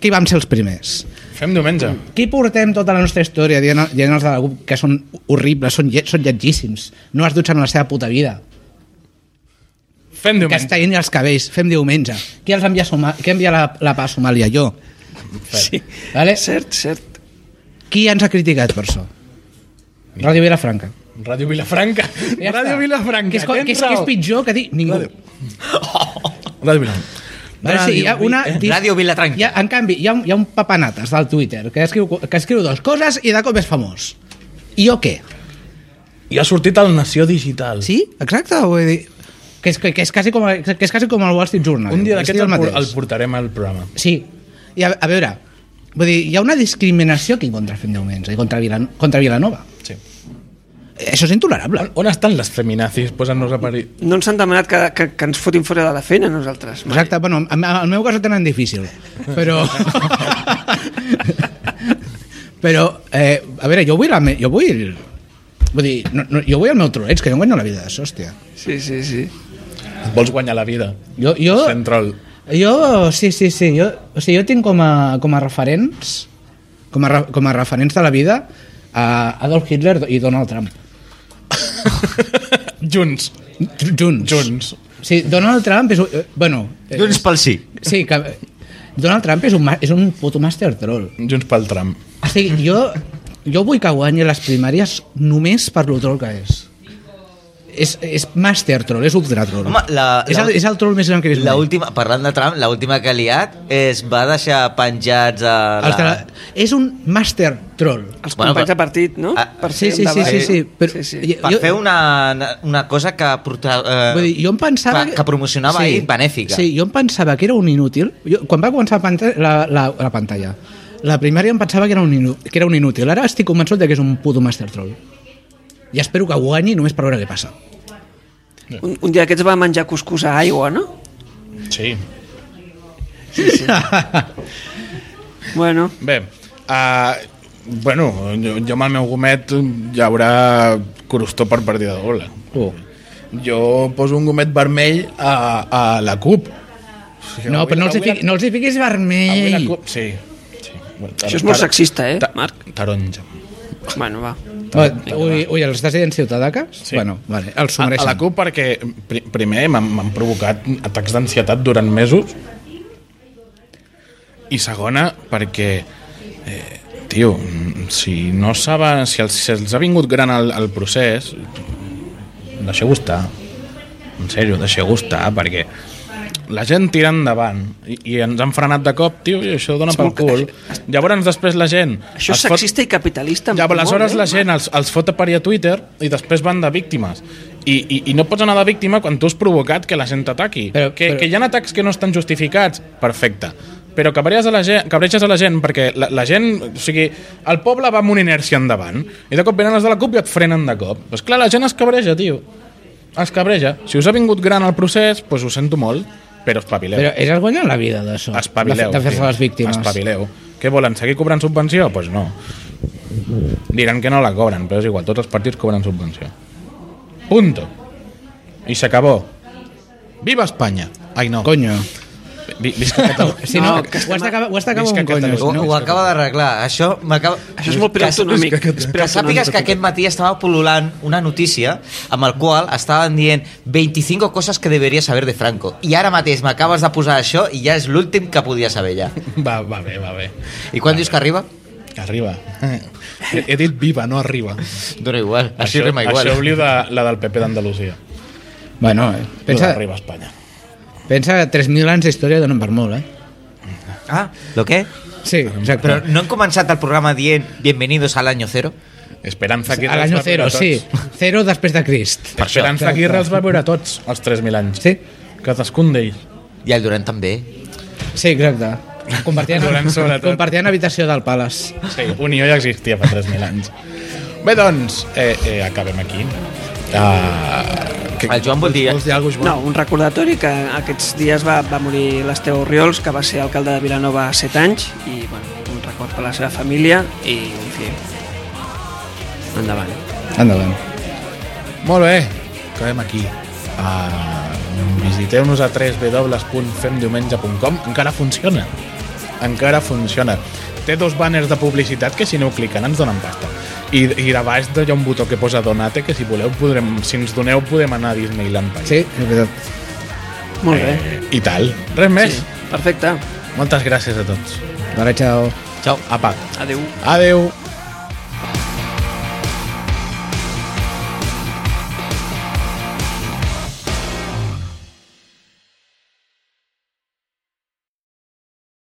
[SPEAKER 3] Qui vam ser els primers?
[SPEAKER 1] fem diumenge.
[SPEAKER 3] Qui portem tota la nostra història dient, dient els de la CUP que són horribles, són, llet, són lletgíssims, no es dutxen en la seva puta vida,
[SPEAKER 1] Fem
[SPEAKER 3] que
[SPEAKER 1] diumenge.
[SPEAKER 3] es tallin els cabells, fem diumenge. Qui els envia, a Soma, qui envia la, la pa a Somàlia? Jo.
[SPEAKER 2] Sí.
[SPEAKER 3] Vale?
[SPEAKER 2] Cert, cert.
[SPEAKER 3] Qui ens ha criticat per això? Ràdio Vilafranca.
[SPEAKER 1] Ràdio Vilafranca.
[SPEAKER 3] Ja
[SPEAKER 1] Ràdio
[SPEAKER 3] està.
[SPEAKER 1] Vilafranca.
[SPEAKER 3] Que és, co-
[SPEAKER 1] tens
[SPEAKER 3] que és, que és
[SPEAKER 1] raó.
[SPEAKER 3] pitjor que dir ningú.
[SPEAKER 1] Ràdio. Ràdio Vilafranca.
[SPEAKER 3] Vale, sí, hi ha una,
[SPEAKER 4] Vi- Ràdio Vilatranca.
[SPEAKER 3] Hi ha, en canvi, hi ha, un, hi ha un papanates del Twitter que escriu, que escriu dues coses i de cop és famós. I jo què?
[SPEAKER 1] I ha sortit el Nació Digital.
[SPEAKER 3] Sí? Exacte? Vull dir... Que és, que, que és, quasi com, que és quasi com el Wall Street Journal.
[SPEAKER 1] Un dia
[SPEAKER 3] És
[SPEAKER 1] d'aquest
[SPEAKER 3] dir,
[SPEAKER 1] el, por-
[SPEAKER 3] mateix.
[SPEAKER 1] el portarem al programa.
[SPEAKER 3] Sí. I a, a veure, vull dir, hi ha una discriminació aquí contra Fem Diumenge i contra, Vilan, contra Vilanova.
[SPEAKER 1] Sí.
[SPEAKER 3] Això és intolerable.
[SPEAKER 1] On estan les feminazis? Posen-nos a parir.
[SPEAKER 2] No ens han demanat que, que, que ens fotin fora de la feina, nosaltres. mai.
[SPEAKER 3] Exacte, bueno, en, en el meu cas ho tenen difícil, però... però, eh, a veure, jo vull, la me, jo vull, vull dir, no, no, jo vull el meu troleig, que jo em guanyo la vida d'això, hòstia.
[SPEAKER 2] Sí, sí, sí.
[SPEAKER 1] Vols guanyar la vida.
[SPEAKER 3] Jo, jo,
[SPEAKER 1] Fent troll.
[SPEAKER 3] jo sí, sí, sí, jo, o sigui, jo tinc com a, com a referents, com a, re- com a referents de la vida, a Adolf Hitler i Donald Trump.
[SPEAKER 1] Junts.
[SPEAKER 3] Junts.
[SPEAKER 1] Junts.
[SPEAKER 3] Sí, Donald Trump és... un- eh, Bueno, eh,
[SPEAKER 4] Junts Doncs pel sí.
[SPEAKER 3] sí, que, Donald Trump és un, ma- és un puto master troll.
[SPEAKER 1] Junts pel tram.
[SPEAKER 3] O sigui, jo, jo vull que guanyi les primàries només per lo troll que és. És, és master troll, és ultra troll.
[SPEAKER 4] Home, la-
[SPEAKER 3] és, el,
[SPEAKER 4] la-
[SPEAKER 3] és el troll més gran que he vist.
[SPEAKER 4] La
[SPEAKER 3] mai.
[SPEAKER 4] última, parlant de Trump, la última que ha liat és va deixar penjats a la...
[SPEAKER 3] El de la- És un master troll.
[SPEAKER 2] Els
[SPEAKER 4] Bueno,
[SPEAKER 2] companys
[SPEAKER 4] però-
[SPEAKER 2] de partit, no?
[SPEAKER 4] Ah,
[SPEAKER 3] Sí,
[SPEAKER 2] fer
[SPEAKER 3] sí, sí,
[SPEAKER 2] endavant.
[SPEAKER 3] sí, sí, però,
[SPEAKER 2] sí, sí.
[SPEAKER 4] Per fer una, una cosa que portava... Eh,
[SPEAKER 3] Vull dir, jo em pensava...
[SPEAKER 4] que, que promocionava ahir benèfica.
[SPEAKER 3] Sí, jo em pensava que era un inútil. Jo, quan va començar la, panta- la, la, la pantalla, la primària em pensava que era, un inú, que era un inútil. Ara estic convençut de que és un puto master troll. I espero que guanyi només per veure què passa.
[SPEAKER 2] Un, un dia d'aquests va menjar cuscús a aigua, no?
[SPEAKER 1] Sí.
[SPEAKER 2] Bueno,
[SPEAKER 1] Bé, uh, bueno, jo, jo amb el meu gomet hi haurà crostó per partida doble.
[SPEAKER 3] Uh.
[SPEAKER 1] Jo poso un gomet vermell a, a la CUP. O sigui,
[SPEAKER 3] No,
[SPEAKER 1] avui-
[SPEAKER 3] però no els, hi
[SPEAKER 1] avui la-
[SPEAKER 3] fiqui, no els hi fiquis
[SPEAKER 1] avui la
[SPEAKER 3] vermell.
[SPEAKER 1] CUP, sí. sí. Bueno,
[SPEAKER 2] Això és molt
[SPEAKER 1] tar-
[SPEAKER 2] sexista, eh,
[SPEAKER 1] ta-
[SPEAKER 2] Marc?
[SPEAKER 1] Taronja.
[SPEAKER 2] bueno, va.
[SPEAKER 3] Ui, ui, els estàs dient ciutadaques?
[SPEAKER 1] Sí.
[SPEAKER 3] Bueno, vale, els
[SPEAKER 1] A, a
[SPEAKER 3] submereixen.
[SPEAKER 1] la CUP perquè pri- primer m'han m'han provocat atacs d'ansietat durant mesos i segona perquè eh, tio, mm, si no saben si els, si els ha vingut gran el, el procés deixeu estar en sèrio, deixeu estar perquè la gent tira endavant i, i ens han frenat de cop, tio, i això dona
[SPEAKER 2] És
[SPEAKER 1] pel
[SPEAKER 2] molt ca-
[SPEAKER 1] cul llavors després la gent
[SPEAKER 2] Això és
[SPEAKER 1] es fot-
[SPEAKER 2] sexista i capitalista.
[SPEAKER 1] ja, però aleshores
[SPEAKER 2] molt,
[SPEAKER 1] la
[SPEAKER 2] eh?
[SPEAKER 1] gent els, els fot a parir a Twitter i després van de víctimes. I, i, i no pots anar de víctima quan tu has provocat que la gent t'ataqui.
[SPEAKER 3] Però-
[SPEAKER 1] Que,
[SPEAKER 3] però-
[SPEAKER 1] que hi ha atacs que no estan justificats, perfecte. Però cabreges a la gent, cabreges a la gent perquè la, la gent... O sigui, el poble va amb una inèrcia endavant i de cop venen els de la CUP i et frenen de cop. Doncs clar, la gent es cabreja, tio. Es cabreja. Si us ha vingut gran el procés, doncs ho sento molt, però espavileu.
[SPEAKER 3] Però és vergonya la vida d'això, de,
[SPEAKER 1] Espavileu.
[SPEAKER 3] fer- de fer-se
[SPEAKER 1] tio.
[SPEAKER 3] les víctimes.
[SPEAKER 1] Espavileu. Què volen, seguir cobrant subvenció? Doncs pues no. Diran que no la cobren, però és igual, tots els partits cobren subvenció. Punto. I s'acabó. Viva Espanya. Ai, no.
[SPEAKER 3] Coño.
[SPEAKER 1] Vi, visca Catalunya.
[SPEAKER 3] Si no,
[SPEAKER 2] No, que
[SPEAKER 3] ho has d'acabar ho has d'acabar
[SPEAKER 1] Visca
[SPEAKER 3] amb un
[SPEAKER 1] Catalunya.
[SPEAKER 3] coño.
[SPEAKER 4] Ho, ho acaba d'arreglar. Això m'acaba...
[SPEAKER 2] Això és molt preautonòmic.
[SPEAKER 4] Que,
[SPEAKER 2] És
[SPEAKER 4] que, que
[SPEAKER 2] preautonòmic.
[SPEAKER 4] sàpigues que aquest matí estava pol·lulant una notícia amb el qual estaven dient 25 coses que deveries saber de Franco. I ara mateix m'acabes de posar això i ja és l'últim que podia saber ja.
[SPEAKER 1] Va, va bé, va bé.
[SPEAKER 4] I quan dius que arriba?
[SPEAKER 1] Arriba. He, he dit viva, no arriba.
[SPEAKER 4] Dóna igual. Així
[SPEAKER 1] això,
[SPEAKER 4] rima igual.
[SPEAKER 1] Això oblio de, la del PP d'Andalusia.
[SPEAKER 3] Bueno, eh,
[SPEAKER 1] Pensa...
[SPEAKER 3] pensa,
[SPEAKER 1] Arriba a Espanya.
[SPEAKER 3] pensa que 3.000 anys d'història donen per molt, eh?
[SPEAKER 4] Ah, lo que?
[SPEAKER 3] Sí, exacte.
[SPEAKER 4] Però no hem començat el programa dient Bienvenidos al año cero?
[SPEAKER 1] Esperanza Aguirre
[SPEAKER 3] a l'any
[SPEAKER 1] els va veure
[SPEAKER 3] zero,
[SPEAKER 1] tots.
[SPEAKER 3] sí. Zero després de Crist.
[SPEAKER 1] Esperanza Aguirre els va veure tots, els 3.000 anys.
[SPEAKER 3] Sí.
[SPEAKER 1] Cadascun d'ells.
[SPEAKER 4] I el Durant també.
[SPEAKER 3] Sí, exacte. Compartien,
[SPEAKER 1] Volem sobretot.
[SPEAKER 3] compartien habitació del Palace.
[SPEAKER 1] Sí, Unió ja existia fa 3.000 anys. Bé, doncs, eh, eh, acabem aquí. Uh, que,
[SPEAKER 4] El Joan vol dir...
[SPEAKER 1] vols dir alguna cosa, Joan?
[SPEAKER 2] No, un recordatori que aquests dies va, va morir l'Esteu Oriols, que va ser alcalde de Vilanova 7 anys, i bueno, un record per la seva família, i en fi, endavant.
[SPEAKER 3] Endavant.
[SPEAKER 1] Molt bé, acabem aquí. Uh, Visiteu-nos a www.femdiumenge.com Encara funciona. Encara funciona. Té dos banners de publicitat que si aneu clicant ens donen pasta. I, i de baix hi ha un botó que posa Donate que si voleu podrem, si ens doneu podem anar a Disneyland Paris.
[SPEAKER 3] Sí, és veritat.
[SPEAKER 2] Molt bé.
[SPEAKER 1] I tal. Res més.
[SPEAKER 2] Sí, perfecte.
[SPEAKER 1] Moltes gràcies a tots.
[SPEAKER 3] Vale, chao.
[SPEAKER 1] Ciao. Apa.
[SPEAKER 2] Adéu.
[SPEAKER 1] Adeu.